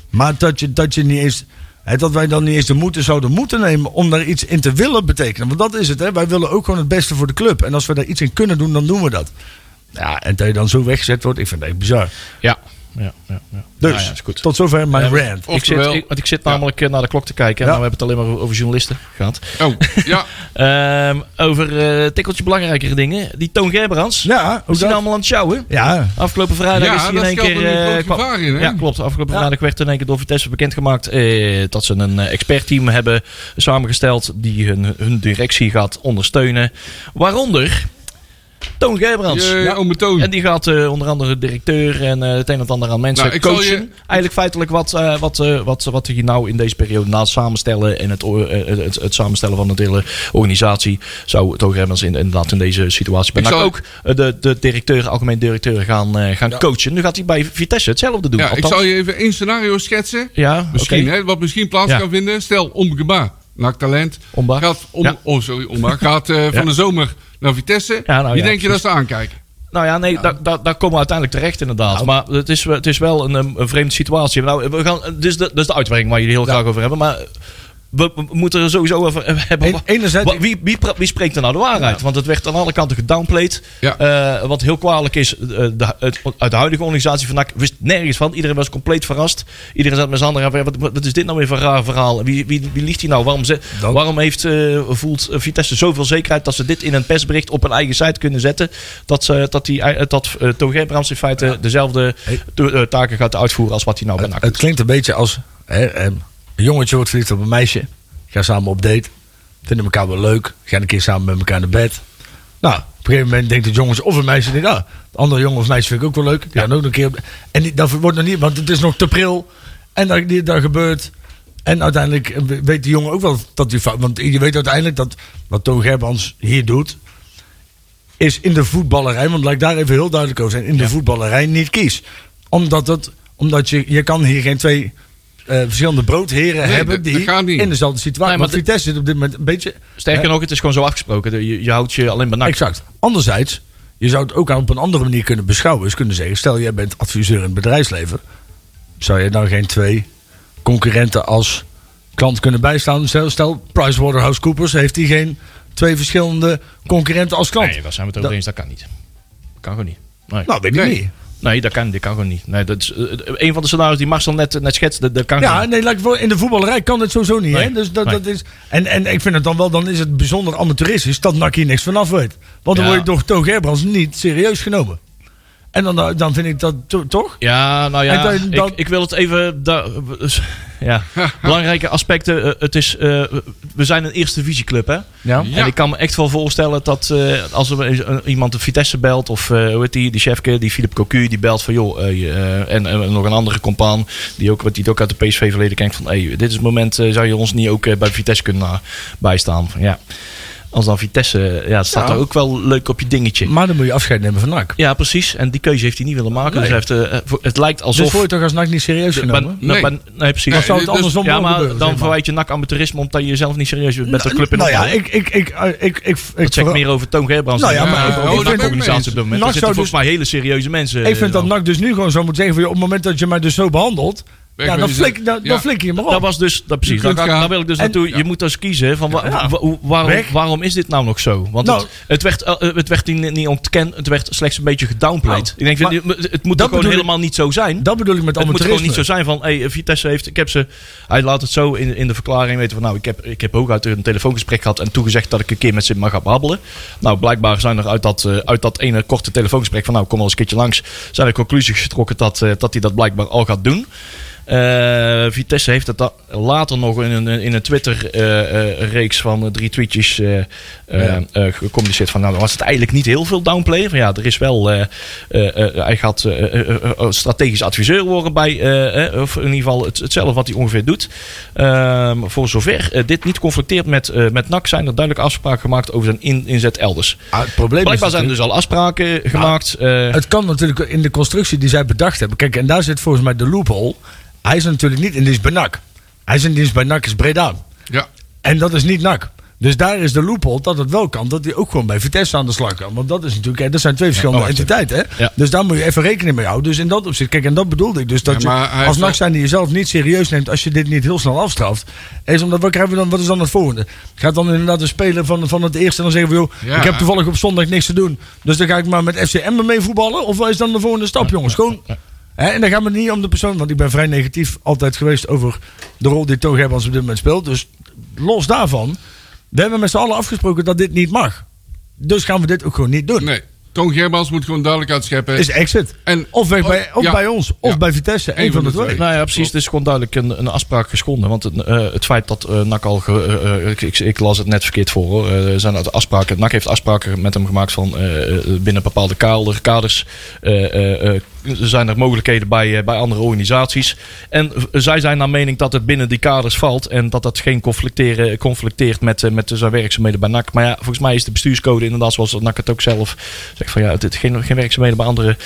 Speaker 4: Maar dat je, dat je niet eens. hè, dat wij dan niet eens de moeite zouden moeten nemen om daar iets in te willen betekenen. Want dat is het, hè. wij willen ook gewoon het beste voor de club. En als we daar iets in kunnen doen, dan doen we dat. Ja, en dat je dan zo weggezet wordt, ik vind dat echt bizar.
Speaker 2: Ja. ja, ja, ja.
Speaker 4: Dus,
Speaker 2: Nou ja, is goed.
Speaker 4: tot zover mijn rant.
Speaker 2: Ik zit,
Speaker 3: Oftewel-
Speaker 2: ik, want ik zit namelijk eh, naar de klok te kijken. En
Speaker 4: Ja.
Speaker 2: nou, we hebben het alleen maar over journalisten gehad.
Speaker 3: Oh,
Speaker 4: [laughs]
Speaker 3: ja.
Speaker 2: Ehm, over eh tikkeltje belangrijkere dingen. Die Toon Gerbrands.
Speaker 4: Ja,
Speaker 2: we zien
Speaker 4: hoe dat?
Speaker 2: nou allemaal aan het sjouwen.
Speaker 4: Ja,
Speaker 2: Afgelopen vrijdag
Speaker 3: Ja,
Speaker 2: is hij in
Speaker 3: dat
Speaker 2: één
Speaker 3: stelt
Speaker 2: keer...
Speaker 3: een
Speaker 2: eh,
Speaker 3: groot
Speaker 2: kwam-
Speaker 3: gevaar in, hè?
Speaker 2: Ja, klopt. Afgelopen
Speaker 4: Ja.
Speaker 2: vrijdag werd in één keer door Vitesse bekendgemaakt... eh, dat ze een eh, expertteam hebben samengesteld... die hun, hun directie gaat ondersteunen. Waaronder Toon Gerbrands.
Speaker 3: Je,
Speaker 2: Ja.
Speaker 3: Ome eh, oh, Toon.
Speaker 2: En die gaat eh, onder andere directeur en eh, het een en het ander aan mensen
Speaker 3: Nou, ik zal
Speaker 2: coachen.
Speaker 3: je-
Speaker 2: Eigenlijk feitelijk wat, eh wat, eh, wat, wat hij nou in deze periode na het samenstellen en het, o- eh, het, het samenstellen van de hele organisatie zou toch Remmers in, inderdaad in deze situatie bij
Speaker 3: Ik
Speaker 2: NAC
Speaker 3: zal-
Speaker 2: ook eh, de, de directeur, algemeen directeur gaan, eh, gaan coachen. Nu gaat hij bij Vitesse hetzelfde doen.
Speaker 3: Ja, ik
Speaker 2: Althans-
Speaker 3: zal je even één scenario schetsen.
Speaker 2: ja,
Speaker 3: Misschien,
Speaker 2: oké.
Speaker 3: hè, wat misschien plaats
Speaker 2: Ja.
Speaker 3: kan vinden. Stel, Omgeba, naktalent.
Speaker 2: Omba.
Speaker 3: Gaat, om,
Speaker 2: Ja.
Speaker 3: oh, sorry, Omba. Gaat
Speaker 4: [laughs]
Speaker 3: eh,
Speaker 2: Ja.
Speaker 3: van de zomer naar Vitesse.
Speaker 2: Ja, nou
Speaker 3: Wie
Speaker 2: ja,
Speaker 3: denk je dat ze aankijken?
Speaker 2: Nou ja, nee, daar- daar- daar komen we uiteindelijk terecht inderdaad. Maar het is, het is wel een, ehm, een vreemde situatie. Nou, we gaan, dit, is de, dit is de uitwerking waar jullie heel graag over hebben. Maar we, we moeten er sowieso over eh, hebben.
Speaker 4: En- enerzijds-
Speaker 2: Wa- wie, wie, pra- wie spreekt er nou de waarheid? Want het werd aan alle kanten gedownplayed.
Speaker 3: Ja.
Speaker 2: Eh, wat heel kwalijk is, eh, de, het, uit de huidige organisatie van NAC wist nergens van. Iedereen was compleet verrast. Iedereen zat met zijn handen aan. Wat, wat- wat is dit nou weer voor een raar verhaal? Wie, wie, wie liegt hier nou? Waarom, ze,
Speaker 4: Dan-
Speaker 2: waarom heeft, eh, voelt eh, Vitesse zoveel zekerheid dat ze dit in een persbericht op hun eigen site kunnen zetten? Dat, ze, dat, die, eh, dat eh, Toon Gerbrands in feite dezelfde to- eh, taken gaat uitvoeren als wat hij nou bij NAC
Speaker 4: het,
Speaker 2: doet.
Speaker 4: het klinkt een beetje als hè, ehm, een jongetje wordt verliefd op een meisje. Gaan samen op date. Vinden elkaar wel leuk. Gaan een keer samen met elkaar naar bed. Nou, op een gegeven moment denkt het jongetje of een meisje. Denkt, ah, de andere jongen of meisje vind ik ook wel leuk. Die gaan ook nog een keer op- En die, dat wordt nog niet, want het is nog te pril. En dat, die, dat gebeurt. En uiteindelijk eh, weet de jongen ook wel dat hij fout... Want je weet uiteindelijk dat wat Toon Gerbrands hier doet... is in de voetballerij, want laat ik daar even heel duidelijk over zijn... in de voetballerij niet kies. Omdat, dat, omdat je, je kan hier geen twee eh, verschillende broodheren
Speaker 3: Nee,
Speaker 4: hebben...
Speaker 3: dat- dat
Speaker 4: die
Speaker 3: gaat niet.
Speaker 4: in dezelfde situatie...
Speaker 2: Nee, maar
Speaker 4: want Vitesse zit op dit moment een beetje...
Speaker 2: Sterker
Speaker 4: hè,
Speaker 2: nog, het is gewoon zo afgesproken. De- Je, je houdt je alleen bij NAC.
Speaker 4: Exact. Anderzijds, je zou het ook op een andere manier kunnen beschouwen. Dus kunnen zeggen, stel jij bent adviseur in het bedrijfsleven. Zou je dan geen twee concurrenten als klant kunnen bijstaan? Stel, stel PricewaterhouseCoopers heeft die geen twee verschillende concurrenten als klant.
Speaker 2: Nee, daar zijn we het over
Speaker 4: Dat-
Speaker 2: eens. Dat kan niet. Dat kan gewoon niet. Nee.
Speaker 4: Nou, weet ik
Speaker 3: Nee.
Speaker 4: niet.
Speaker 2: Nee, dat kan, dat kan gewoon niet. Nee, dat is, eh, een van de scenario's die Marcel net, net schetst, dat, dat kan gewoon
Speaker 4: Ja,
Speaker 2: niet.
Speaker 4: nee, laat ik voor- in de voetballerij kan het sowieso niet.
Speaker 2: Nee.
Speaker 4: Hè? Dus dat,
Speaker 2: Nee.
Speaker 4: dat is, en, en ik vind het dan wel, dan is het bijzonder amateuristisch dat NAC hier niks vanaf weet. Want dan
Speaker 2: Ja.
Speaker 4: word je door Toon Gerbrands niet serieus genomen. En dan, dan vind ik dat to- toch?
Speaker 2: Ja, nou ja,
Speaker 4: En dan- dan-
Speaker 2: ik, ik wil het even... da- [laughs] ja, belangrijke aspecten. eh, het is, eh, we zijn een eerste divisieclub, hè?
Speaker 4: Ja.
Speaker 2: En ik kan me echt wel voorstellen dat eh, als er eens, eh, iemand de Vitesse belt, of eh, hoe heet die, die chefke, die Philip Cocu, die belt van joh, eh, je, eh, en eh, nog een andere compaan, die ook, wat die het ook uit de PSV verleden kent, van hey, dit is het moment, eh, zou je ons niet ook eh, bij Vitesse kunnen eh, bijstaan? Van, ja. Als dan Vitesse, eh, ja, het staat
Speaker 4: Ja.
Speaker 2: er ook wel leuk op je dingetje.
Speaker 4: Maar dan moet je afscheid nemen van NAC.
Speaker 2: Ja, precies. En die keuze heeft hij niet willen maken. Dus hij heeft, eh, voor- het lijkt alsof...
Speaker 4: Dus word je toch als NAC niet serieus
Speaker 2: De-
Speaker 4: genomen?
Speaker 2: ben- nou,
Speaker 3: Nee.
Speaker 2: ben- nee, precies.
Speaker 3: Dan zou
Speaker 4: het
Speaker 2: Dus-
Speaker 4: andersom
Speaker 2: ja,
Speaker 4: wel
Speaker 2: maar
Speaker 4: gebeuren,
Speaker 2: dan
Speaker 4: zeg maar.
Speaker 2: verwijt je nak amateurisme omdat je jezelf niet serieus bent met de club in
Speaker 4: nou ja,
Speaker 2: opbouw.
Speaker 4: ik... ik, ik, eh, ik, ik, ik,
Speaker 2: Dat zegt meer over Toon Gerbrands
Speaker 4: Nou ja,
Speaker 2: dan
Speaker 4: maar-
Speaker 2: over
Speaker 4: Ja,
Speaker 2: die
Speaker 4: oh, dat ben ik
Speaker 2: organisatie op
Speaker 3: mee
Speaker 2: dit moment.
Speaker 4: eens.
Speaker 2: Er zitten
Speaker 4: NAC zou dus-
Speaker 2: volgens mij hele serieuze mensen.
Speaker 4: ik vind dat
Speaker 2: eh,
Speaker 4: NAC dus nu gewoon zo moet zeggen... Van, joh, op het moment dat je mij dus zo behandelt...
Speaker 3: Weg
Speaker 4: Ja,
Speaker 3: met
Speaker 4: dan,
Speaker 3: die
Speaker 4: flik,
Speaker 3: zin.
Speaker 4: dan,
Speaker 3: Ja.
Speaker 4: dan flik je hem
Speaker 2: dan. Dat
Speaker 4: erop.
Speaker 2: was dus, dat precies.
Speaker 3: kunt
Speaker 2: Daar, ga-
Speaker 3: gaan.
Speaker 2: daar wil ik dus
Speaker 4: En-
Speaker 2: naartoe. Je moet dus kiezen van wa-
Speaker 4: Ja.
Speaker 2: wa- hoe- waarom,
Speaker 4: Weg.
Speaker 2: waarom is dit nou nog zo? Want
Speaker 4: Nou.
Speaker 2: het, het werd, eh, het werd niet niet ontkend, het werd slechts een beetje gedownplayed.
Speaker 4: Nou,
Speaker 2: ik denk,
Speaker 4: maar-
Speaker 2: het moet
Speaker 4: dat
Speaker 2: gewoon
Speaker 4: bedoel ik-
Speaker 2: helemaal niet zo zijn.
Speaker 4: Dat bedoel ik met
Speaker 2: Het moet gewoon niet zo
Speaker 4: amateurisme.
Speaker 2: zijn van, hey, Vitesse heeft, ik heb ze, hij laat het zo in, in de verklaring weten van, nou, ik heb, ik heb hooguit een telefoongesprek gehad en toegezegd dat ik een keer met ze mag gaan babbelen. Nou, blijkbaar zijn er uit dat, eh, uit dat ene korte telefoongesprek van, nou, kom al eens een keertje langs, zijn er conclusies getrokken dat, eh, dat hij dat blijkbaar al gaat doen. Eh, Vitesse heeft het da- later nog in een, in een Twitter-reeks van eh, drie tweetjes eh, eh, eh, gecommuniceerd. Van, nou, dan was het eigenlijk niet heel veel downplay. Van, ja, er is wel. eh, eh, eh, hij gaat eh, eh, eh, eh, strategisch adviseur worden bij. eh, eh, of in ieder geval het, hetzelfde wat hij ongeveer doet. Ehm, voor zover eh, dit niet confronteert met, eh, met NAC, zijn er duidelijk afspraken gemaakt over zijn in- inzet elders.
Speaker 4: Ah, het probleem
Speaker 2: Blijkbaar
Speaker 4: is
Speaker 2: zijn er dus al afspraken gemaakt. eh,
Speaker 4: Het kan natuurlijk in de constructie die zij bedacht hebben. Kijk, en daar zit volgens mij de loophole. Hij is natuurlijk niet in dienst bij NAC. Hij is in dienst bij NAC is Breda.
Speaker 3: Ja.
Speaker 4: En dat is niet NAC. Dus daar is de loophole dat het wel kan. Dat hij ook gewoon bij Vitesse aan de slag kan. Want dat is natuurlijk... hè, Dat zijn twee verschillende
Speaker 2: oh, wacht even.
Speaker 4: entiteiten. Hè?
Speaker 2: Ja.
Speaker 4: Dus daar moet je even rekening mee houden. Dus in dat opzicht... Kijk, en dat bedoelde ik. Dus dat
Speaker 3: Ja, maar hij
Speaker 4: je
Speaker 3: heeft
Speaker 4: als NAC
Speaker 3: wel-
Speaker 4: zijn die jezelf niet serieus neemt... als je dit niet heel snel afstraft... Is omdat, wat, krijgen we dan, wat is dan het volgende? Gaat dan inderdaad een speler van, van het eerste... en dan zeggen we, joh,
Speaker 3: Ja.
Speaker 4: ik heb toevallig op zondag niks te doen... dus dan ga ik maar met FCM mee voetballen? Of wat is dan de volgende stap, jongens? Gewoon... Hè, en dan gaat het niet om de persoon, want ik ben vrij negatief altijd geweest over de rol die Togerbans op dit moment speelt. Dus los daarvan, we hebben met z'n allen afgesproken dat dit niet mag. Dus gaan we dit ook gewoon niet doen.
Speaker 3: Nee. Toon Germans moet gewoon duidelijk uitscheppen.
Speaker 4: Is exit.
Speaker 3: En-
Speaker 4: of weg
Speaker 3: oh,
Speaker 4: bij, of
Speaker 3: ja.
Speaker 4: bij ons, of
Speaker 3: Ja.
Speaker 4: bij Vitesse. Eén van de twee.
Speaker 2: Nou ja, precies. Het is gewoon duidelijk een, een afspraak geschonden. Want het, eh, het feit dat eh NAC al... ge- eh, eh, ik, ik, ik las het net verkeerd voor hoor. Eh, Er zijn uit afspraken, NAC heeft afspraken met hem gemaakt van eh, eh, binnen bepaalde kader, kaders... eh, eh, eh, zijn er mogelijkheden bij, eh, bij andere organisaties. En v- zij zijn naar mening dat het binnen die kaders valt. En dat dat geen conflicteren, conflicteert met, eh, met zijn werkzaamheden bij NAC. Maar ja, volgens mij is de bestuurscode inderdaad zoals NAC het ook zelf zegt. Van ja, het is geen, geen werkzaamheden bij andere,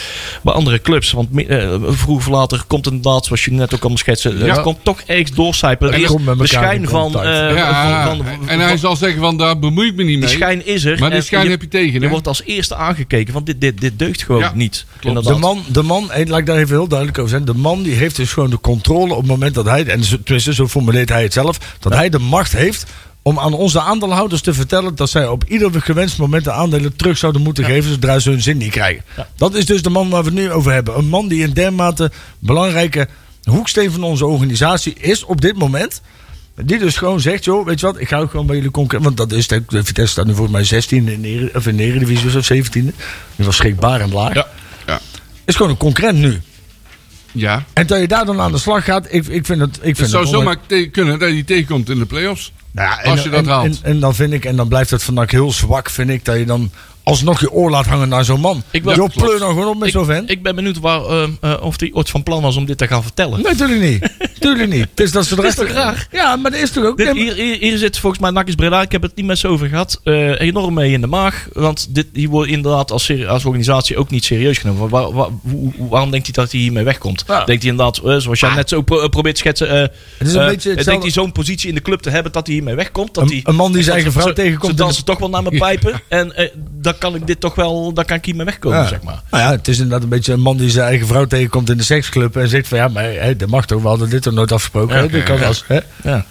Speaker 2: bij andere clubs. Want me- eh, vroeg of later komt inderdaad, zoals jullie net ook allemaal schetsen. eh,
Speaker 3: Ja.
Speaker 2: Het komt toch ergens doorcijpelen.
Speaker 4: En
Speaker 2: Eerst
Speaker 4: komt met
Speaker 2: de
Speaker 4: elkaar
Speaker 2: schijn
Speaker 4: in
Speaker 2: van,
Speaker 4: contact.
Speaker 2: eh,
Speaker 3: ja,
Speaker 2: van, van-
Speaker 3: en hij
Speaker 2: van-
Speaker 3: zal zeggen van daar bemoei ik me niet
Speaker 2: die
Speaker 3: mee.
Speaker 2: schijn is er.
Speaker 3: maar die
Speaker 2: En
Speaker 3: schijn
Speaker 2: je,
Speaker 3: heb je tegen,
Speaker 2: je
Speaker 3: hè?
Speaker 2: wordt als eerste aangekeken. Want dit, dit, dit deugt gewoon
Speaker 3: Ja,
Speaker 2: niet.
Speaker 4: De
Speaker 2: Inderdaad.
Speaker 4: man, de man, en laat ik daar even heel duidelijk over zijn. De man die heeft dus gewoon de controle op het moment dat hij, en zo- tenminste zo formuleert hij het zelf, dat hij de macht heeft om aan onze aandeelhouders te vertellen dat zij op ieder gewenst moment de aandelen terug zouden moeten geven zodra ze hun zin niet krijgen. Dat is dus de man waar we het nu over hebben. Een man die een dermate belangrijke hoeksteen van onze organisatie is op dit moment. Die dus gewoon zegt, joh, weet je wat, ik ga ook gewoon bij jullie concurreren. Want dat is, de de Vitesse staat nu volgens mij 16 in de, Ere- of in de Eredivisie of 17e. Die was schrikbaar en laag
Speaker 3: Ja. Ja.
Speaker 4: is gewoon een concurrent nu.
Speaker 3: ja.
Speaker 4: En dat je daar dan aan de slag gaat, ik, ik vind het. Ik vind
Speaker 3: Het zou
Speaker 4: het onlijk-
Speaker 3: zomaar te- kunnen dat hij tegenkomt in de play-offs.
Speaker 4: Nou ja, en-
Speaker 3: als je dat
Speaker 4: en,
Speaker 3: haalt.
Speaker 4: En, en dan vind ik, en dan blijft het vandaag heel zwak, vind ik, dat je dan alsnog je oor laat hangen naar zo'n man.
Speaker 2: Ik wel-
Speaker 4: Joh,
Speaker 2: Ja, klopt.
Speaker 4: pleur dan gewoon op met
Speaker 2: Ik,
Speaker 4: zo'n vent.
Speaker 2: ik ben benieuwd waar, eh, eh, of hij ooit van plan was om dit te gaan vertellen.
Speaker 4: Nee, natuurlijk niet. Tuurlijk niet. Het
Speaker 2: [laughs]
Speaker 4: is dat ze de
Speaker 2: is
Speaker 4: rest-
Speaker 2: toch raar?
Speaker 4: Ja, maar dat is toch ook.
Speaker 2: Dit,
Speaker 4: nee, maar-
Speaker 2: hier, hier, hier zit volgens mij Nakis Breda, ik heb het niet met ze over gehad, eh, enorm mee in de maag. Want dit, hier wordt inderdaad als, seri- als organisatie ook niet serieus genomen. Waar, waar- hoe- hoe- waarom denkt hij dat hij hiermee wegkomt?
Speaker 4: Ja. Ah.
Speaker 2: Denkt hij inderdaad, eh, zoals jij net zo pro- eh, probeert te schetsen, eh,
Speaker 4: is een
Speaker 2: eh,
Speaker 4: beetje hetzelfde-
Speaker 2: denkt hij zo'n positie in de club te hebben dat hij hiermee wegkomt? Dat
Speaker 4: Een-
Speaker 2: hij,
Speaker 4: een man die zijn eigen vrouw
Speaker 2: ze-
Speaker 4: tegenkomt
Speaker 2: Ze
Speaker 4: in de-
Speaker 2: dansen toch wel naar mijn pijpen en eh, dan kan ik dit toch wel, dan kan ik hiermee wegkomen,
Speaker 4: Ja.
Speaker 2: zeg maar.
Speaker 4: Nou ja, het is inderdaad een beetje een man die zijn eigen vrouw tegenkomt in de seksclub. En zegt van ja, maar hè, dat mag toch, we hadden dit toch nooit afgesproken.
Speaker 2: Ja,
Speaker 4: hè? Dat
Speaker 3: oké,
Speaker 4: kan
Speaker 3: ja.
Speaker 4: als, hè?
Speaker 2: Ja.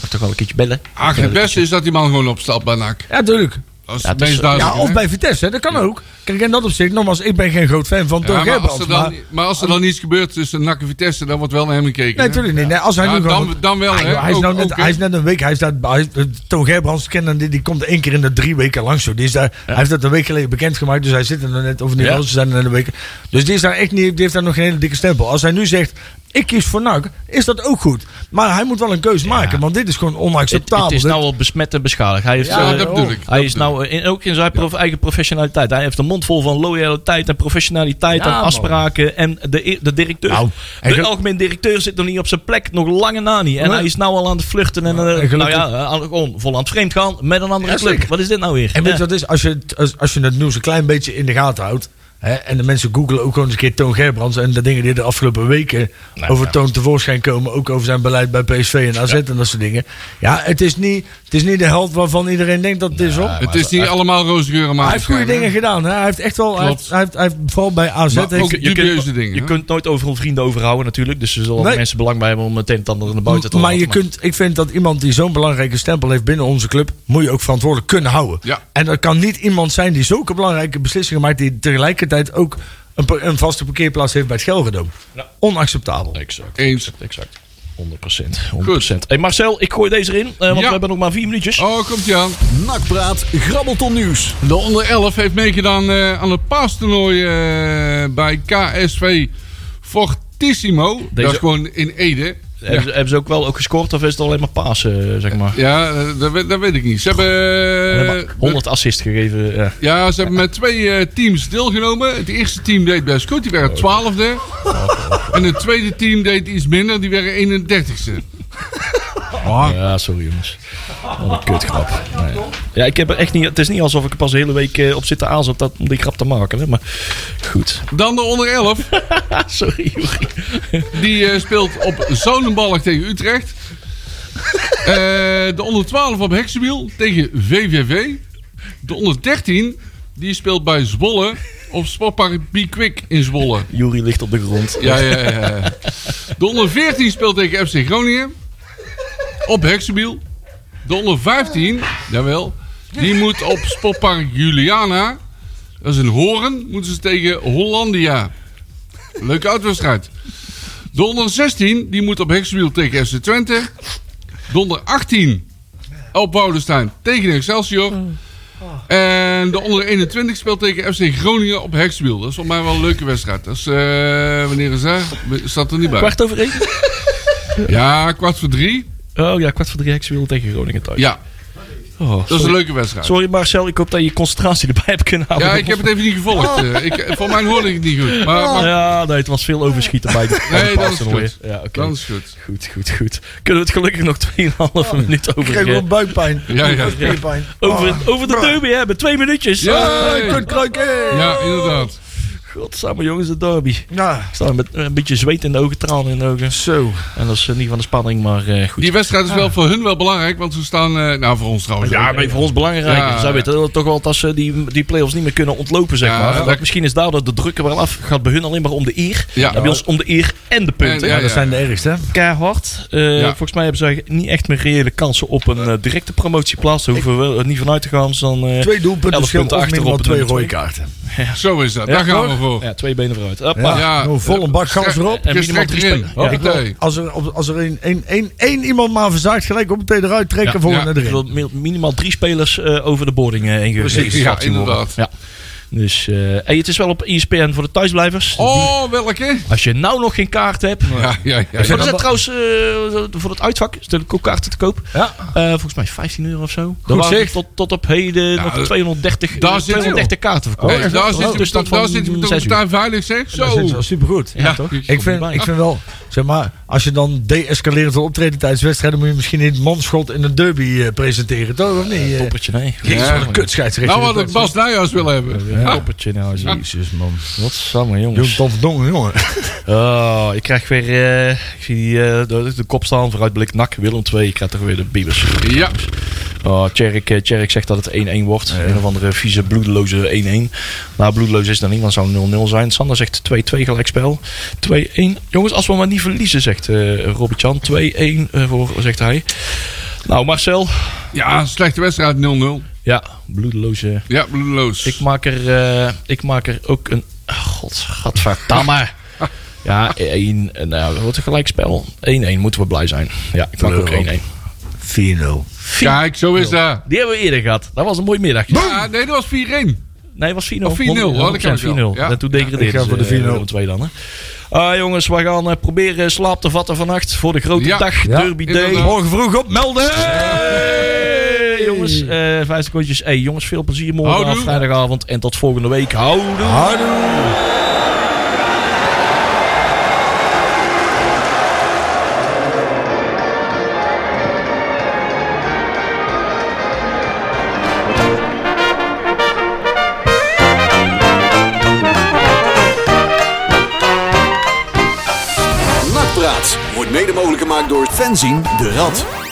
Speaker 2: Mag toch wel een keertje bellen.
Speaker 3: Ach, het beste is dat die man gewoon opstapt bij NAC.
Speaker 4: ja, tuurlijk.
Speaker 3: Dat is
Speaker 2: Ja,
Speaker 3: het
Speaker 2: het is-
Speaker 3: meest duidelijk.
Speaker 4: Ja, of bij Vitesse, hè, dat kan ook. Kijk, in dat opzicht, nogmaals, ik ben geen groot fan van Toon
Speaker 3: maar, als
Speaker 4: Gerbrands,
Speaker 3: er dan,
Speaker 4: maar-
Speaker 3: maar als er dan iets gebeurt tussen NAC en Vitesse, dan wordt wel naar hem gekeken.
Speaker 4: Nee,
Speaker 3: hè?
Speaker 4: natuurlijk niet. Nee, als hij
Speaker 3: Ja,
Speaker 4: nu
Speaker 3: dan-
Speaker 4: gewoon-
Speaker 3: dan wel,
Speaker 4: Ah, joh,
Speaker 3: hè.
Speaker 4: Hij is,
Speaker 3: Ook-
Speaker 4: nou net,
Speaker 3: ook, hè.
Speaker 4: hij is net een week. Hij is daar, hij, is- eh, Toon Gerbrands kennen, die, die komt één keer in de drie weken langs. Zo. Die is daar, Hij heeft dat een week geleden bekendgemaakt. Dus hij zit er nog net over niet
Speaker 2: Ja.
Speaker 4: wel. Ze zijn er net een week. Dus die, is daar echt niet, die heeft daar nog geen hele dikke stempel. Als hij nu zegt, ik kies voor NAC, is dat ook goed. Maar hij moet wel een keus maken. Want dit is gewoon
Speaker 2: Het,
Speaker 4: onacceptabel.
Speaker 2: het is
Speaker 4: Dit-
Speaker 2: nou al besmet en beschadigd. Hij heeft,
Speaker 3: Ja,
Speaker 2: eh,
Speaker 3: dat bedoel ik.
Speaker 2: Hij
Speaker 3: dat
Speaker 2: is
Speaker 3: bedoel ik.
Speaker 2: nou in, ook in zijn prof- eigen professionaliteit. Hij heeft een mond vol van loyaliteit en professionaliteit
Speaker 4: Ja,
Speaker 2: en
Speaker 4: man.
Speaker 2: afspraken. En de, e- de directeur,
Speaker 4: Nou, en
Speaker 2: de
Speaker 4: ge-
Speaker 2: algemeen directeur zit nog niet op zijn plek. Nog lange na niet. En
Speaker 4: Nee.
Speaker 2: hij is nou al aan het vluchten. En, eh,
Speaker 4: en
Speaker 2: nou
Speaker 4: gelukkig-
Speaker 2: ja, eh, aan- gewoon vol aan het vreemd gaan met een andere
Speaker 4: Ja,
Speaker 2: club.
Speaker 4: zeker.
Speaker 2: Wat is dit nou weer?
Speaker 4: En weet
Speaker 2: Ja.
Speaker 4: je wat het is? Als je, het- als, als je het nieuws een klein beetje in de gaten houdt. Hè, en de mensen googelen ook gewoon eens een keer Toon Gerbrands. En de dingen die de afgelopen weken over Toon tevoorschijn komen. Ook over zijn beleid bij PSV en AZ en dat soort dingen. Ja, het is niet, het is niet de held waarvan iedereen denkt dat het is hoor.
Speaker 3: Het is niet allemaal roze geuren, maar
Speaker 4: Hij heeft goede dingen gedaan. Hè? Hij heeft echt wel. Hij
Speaker 3: Klopt.
Speaker 4: heeft, hij heeft, hij heeft vooral bij AZ.
Speaker 3: Maar
Speaker 4: heeft-
Speaker 3: ook-
Speaker 2: Je
Speaker 3: dubieuze
Speaker 2: kunt,
Speaker 3: dingen,
Speaker 2: je
Speaker 3: hè?
Speaker 2: kunt nooit overal vrienden overhouden natuurlijk. Dus er zullen
Speaker 4: Nee.
Speaker 2: mensen belang bij hebben om meteen het andere naar buiten te
Speaker 4: maar
Speaker 2: laten.
Speaker 4: je kunt, ik vind dat iemand die zo'n belangrijke stempel heeft binnen onze club, moet je ook verantwoordelijk kunnen houden.
Speaker 3: Ja.
Speaker 4: En dat kan niet iemand zijn die zulke belangrijke beslissingen maakt, die tegelijkertijd ook een, pa- een vaste parkeerplaats heeft bij het Gelredome.
Speaker 2: Ja.
Speaker 4: Onacceptabel.
Speaker 2: Exact.
Speaker 3: Eens.
Speaker 2: Exact. 100%. 100%. Hey Marcel, ik gooi deze erin, eh, want
Speaker 3: Ja.
Speaker 2: we hebben nog maar vier minuutjes.
Speaker 3: Oh, komt ie aan.
Speaker 1: Nakpraat, grabbelton nieuws.
Speaker 3: De onder 11 heeft meegedaan eh, aan het paastoernooi eh, bij KSV Fortissimo. Dat is gewoon in Ede.
Speaker 2: Hebben, ze, hebben ze ook wel ook gescoord of is het alleen maar Pasen, zeg maar?
Speaker 3: Ja, eh, dat, weet- dat weet ik niet. Ze
Speaker 2: Alleen
Speaker 3: hebben,
Speaker 2: maar 100 assist gegeven. eh. Ja.
Speaker 3: ja, ze hebben met twee eh, teams deelgenomen. Het eerste team deed best goed, die werden twaalfde. En het tweede team deed iets minder, die werden 31ste. Ah.
Speaker 2: ja, sorry jongens. Wat een kutgrap. Nee. Ja, ik heb er echt niet, het is niet alsof ik er pas de hele week eh, op zit te aanzet dat, om die grap te maken. Hè, maar goed. [laughs]
Speaker 3: Dan de onder 11.
Speaker 2: Ah, sorry Joeri.
Speaker 3: Die eh, speelt op Zonenbalk tegen Utrecht. Eh, de onder 12 op Heksenwiel tegen VVV. De onder 13 die speelt bij Zwolle op Sportpark Be Quick in Zwolle.
Speaker 2: Joeri ligt op de grond.
Speaker 3: Ja, ja, ja, ja. De onder 14 speelt tegen FC Groningen op Heksenwiel. De onder 15, jawel, die moet op Sportpark Juliana. Dat is in Horen, moeten ze tegen Hollandia. Leuke uitwedstrijd. De onder 16 die moet op Hexwiel tegen FC Twente. De onder 18 op Woudenstein tegen Excelsior. En de onder 21 speelt tegen FC Groningen op Hexwiel. Dat is voor mij wel een leuke wedstrijd. Dat is, eh, wanneer is dat? Staat er niet bij.
Speaker 2: Kwart over één?
Speaker 3: Ja, kwart voor drie.
Speaker 2: Oh ja, kwart voor drie Hexwiel tegen Groningen thuis.
Speaker 3: Ja,
Speaker 2: Oh,
Speaker 3: dat is
Speaker 2: sorry.
Speaker 3: een leuke wedstrijd.
Speaker 2: Sorry Marcel, ik hoop dat je je concentratie erbij hebt kunnen houden.
Speaker 3: Ja, ik heb het even niet gevolgd.
Speaker 2: Oh.
Speaker 3: Eh, Ik, voor mij hoorde ik het niet goed. Maar, maar
Speaker 2: Ja, nee, het was veel overschieten bij de bij de
Speaker 3: [laughs] Nee, dat is
Speaker 2: Pasen alweer.
Speaker 3: goed.
Speaker 2: Ja, oké.
Speaker 3: dan is het goed.
Speaker 2: Goed, goed, goed. Kunnen we het gelukkig nog 2,5 minuut
Speaker 4: Ik krijg
Speaker 2: over, eh,
Speaker 4: wel buikpijn.
Speaker 3: Ja, ja.
Speaker 4: Buikpijn. Oh.
Speaker 2: over, over de derby hebben. Twee minuutjes.
Speaker 3: Ah. Ja,
Speaker 4: Hey, Kurt Kruik, hey.
Speaker 3: ja, inderdaad.
Speaker 2: Godsamme jongens, de derby.
Speaker 4: Nou,
Speaker 2: Ik sta met een beetje zweet in de ogen, tranen in de ogen.
Speaker 4: zo.
Speaker 2: En dat is eh, niet van de spanning, maar eh, goed.
Speaker 3: Die wedstrijd is wel voor hun wel belangrijk, want ze staan... eh, nou, voor ons trouwens.
Speaker 2: Ja, maar voor ons belangrijk.
Speaker 3: Ja.
Speaker 2: Zij weten dat toch wel dat ze die, die play-offs niet meer kunnen ontlopen, zeg
Speaker 3: Ja,
Speaker 2: maar.
Speaker 3: dat-
Speaker 2: Dat- misschien is daardoor de druk er wel af. Gaat bij hun alleen maar om de eer.
Speaker 3: Ja.
Speaker 2: Dan bij ons om de eer en de punten.
Speaker 3: En-
Speaker 4: Ja,
Speaker 3: ja.
Speaker 4: dat zijn de ergste. hè?
Speaker 2: Keihard. Eh,
Speaker 3: Ja.
Speaker 2: Volgens mij hebben zij niet echt meer reële kansen op een eh, directe promotieplaats. Daar hoeven we er niet vanuit te gaan. Dus dan, eh,
Speaker 4: Twee doelpunten
Speaker 2: elf
Speaker 4: verschil
Speaker 2: punten
Speaker 4: of minimaal
Speaker 2: achterop en
Speaker 4: twee
Speaker 2: dan
Speaker 4: rode
Speaker 2: twee.
Speaker 4: kaarten.
Speaker 3: Zo is dat.
Speaker 2: Ja,
Speaker 3: Daar gaan we
Speaker 2: toch?
Speaker 3: voor.
Speaker 2: ja, twee benen vooruit. Hoppa.
Speaker 4: Ja,
Speaker 3: Ja.
Speaker 4: nou, vol een bak gas erop.
Speaker 2: En minimaal
Speaker 3: Gestrekt
Speaker 2: drie
Speaker 3: erin.
Speaker 2: spelers. Ja.
Speaker 4: Ik
Speaker 3: Hoppatee.
Speaker 4: wil- Als er, op- als er één een, een, een, iemand maar verzaakt, gelijk op meteen eruit trekken
Speaker 2: Ja,
Speaker 4: voor
Speaker 3: ja.
Speaker 4: naar
Speaker 2: Ik
Speaker 4: erin.
Speaker 2: wil mi- minimaal drie spelers eh, over de boarding eh, heen
Speaker 3: Precies,
Speaker 2: ge-
Speaker 3: ja,
Speaker 2: gezet worden.
Speaker 3: inderdaad.
Speaker 2: Ja. Dus, eh, en het is wel op ESPN voor de thuisblijvers.
Speaker 3: Oh, welke?
Speaker 2: Als je nou nog geen kaart hebt.
Speaker 3: Ja, ja, ja.
Speaker 2: Maar
Speaker 3: ja.
Speaker 2: er zijn trouwens eh, voor het uitvak is er ook kaarten te koop.
Speaker 4: Ja.
Speaker 2: Eh, volgens mij 15 euro of zo. Er waren
Speaker 4: zicht.
Speaker 2: tot, tot op heden nog
Speaker 3: dat-
Speaker 2: 230,
Speaker 3: daar
Speaker 2: eh,
Speaker 3: zit je
Speaker 2: 230 kaarten verkocht.
Speaker 3: Hey, daar zit je
Speaker 2: Dus dat
Speaker 3: met- daar
Speaker 2: van
Speaker 3: zit je met
Speaker 2: zes
Speaker 3: de tuin veilig, zeg.
Speaker 4: Dat
Speaker 3: Zo.
Speaker 4: zit wel supergoed.
Speaker 2: Ja, toch?
Speaker 4: Ik vind,
Speaker 2: bij.
Speaker 4: ik vind wel, zeg maar, als je dan de-escalerend wil optreden tijdens wedstrijden, moet je misschien in het manschot in de derby eh, presenteren, toch? Of niet? Eh,
Speaker 2: Toppertje, nee.
Speaker 4: Jezus, wat
Speaker 3: Ja.
Speaker 4: een kutscheidsrechter.
Speaker 3: Nou, wat ik Bas Nijhuis wil hebben.
Speaker 2: Ja. Toppertje nou. zie.
Speaker 4: Jezus, man.
Speaker 2: Wat samen,
Speaker 4: Jong,
Speaker 2: jongens.
Speaker 4: tof dongen, jongen.
Speaker 2: Oh, ik krijg weer... eh, ik zie die, eh, de, de kop staan, vooruitblik, nak, Willem 2. Ik krijg toch weer de biebers.
Speaker 3: Ja,
Speaker 2: Oh, Tjerk, eh, Tjerk zegt dat het 1-1 wordt. Een of andere vieze bloedeloze 1-1. Nou, bloedeloos is dat niet, want het zou 0-0 zijn. Sander zegt 2-2 gelijkspel. 2-1. Jongens, als we maar niet verliezen, zegt eh Robert-Jan. 2-1 eh, voor, zegt hij. Nou, Marcel.
Speaker 3: ja slechte wedstrijd 0-0.
Speaker 2: Ja, bloedeloze.
Speaker 3: Ja, bloedeloos.
Speaker 2: Ik maak er, eh, ik maak er ook een... God, gadverdamme. Ja, 1, nou, dat wordt een gelijkspel. 1-1, moeten we blij zijn. Ja, ik maak ook 1-1.
Speaker 4: 4-0.
Speaker 3: Kijk, zo is dat.
Speaker 2: Die hebben we eerder gehad. Dat was een mooi middagje.
Speaker 3: Ja, nee, dat was 4-1.
Speaker 2: Nee, het was 4-0.
Speaker 3: Oh, 4-0, hoor, dat kan
Speaker 2: 100%,
Speaker 3: ik wel.
Speaker 2: 4-0.
Speaker 3: Ja.
Speaker 2: En toen
Speaker 4: Ik
Speaker 2: degradeerden
Speaker 4: ga
Speaker 2: ze,
Speaker 4: voor de
Speaker 2: eh,
Speaker 4: 4-0.
Speaker 2: Willem II dan, hè. Ah, jongens, we gaan eh, proberen slaap te vatten vannacht voor de grote
Speaker 3: Ja.
Speaker 2: dag.
Speaker 4: Ja.
Speaker 2: Derby Day.
Speaker 3: Inderdaad.
Speaker 4: Morgen vroeg op, melden!
Speaker 2: Hey, jongens, eh, vijf secondjes. Hey, jongens, veel plezier morgen
Speaker 3: Houdoe.
Speaker 2: vrijdagavond. En tot volgende week. Houdoe.
Speaker 4: Houdoe!
Speaker 1: Nakpraat wordt mede mogelijk gemaakt door Fenzin de Rad.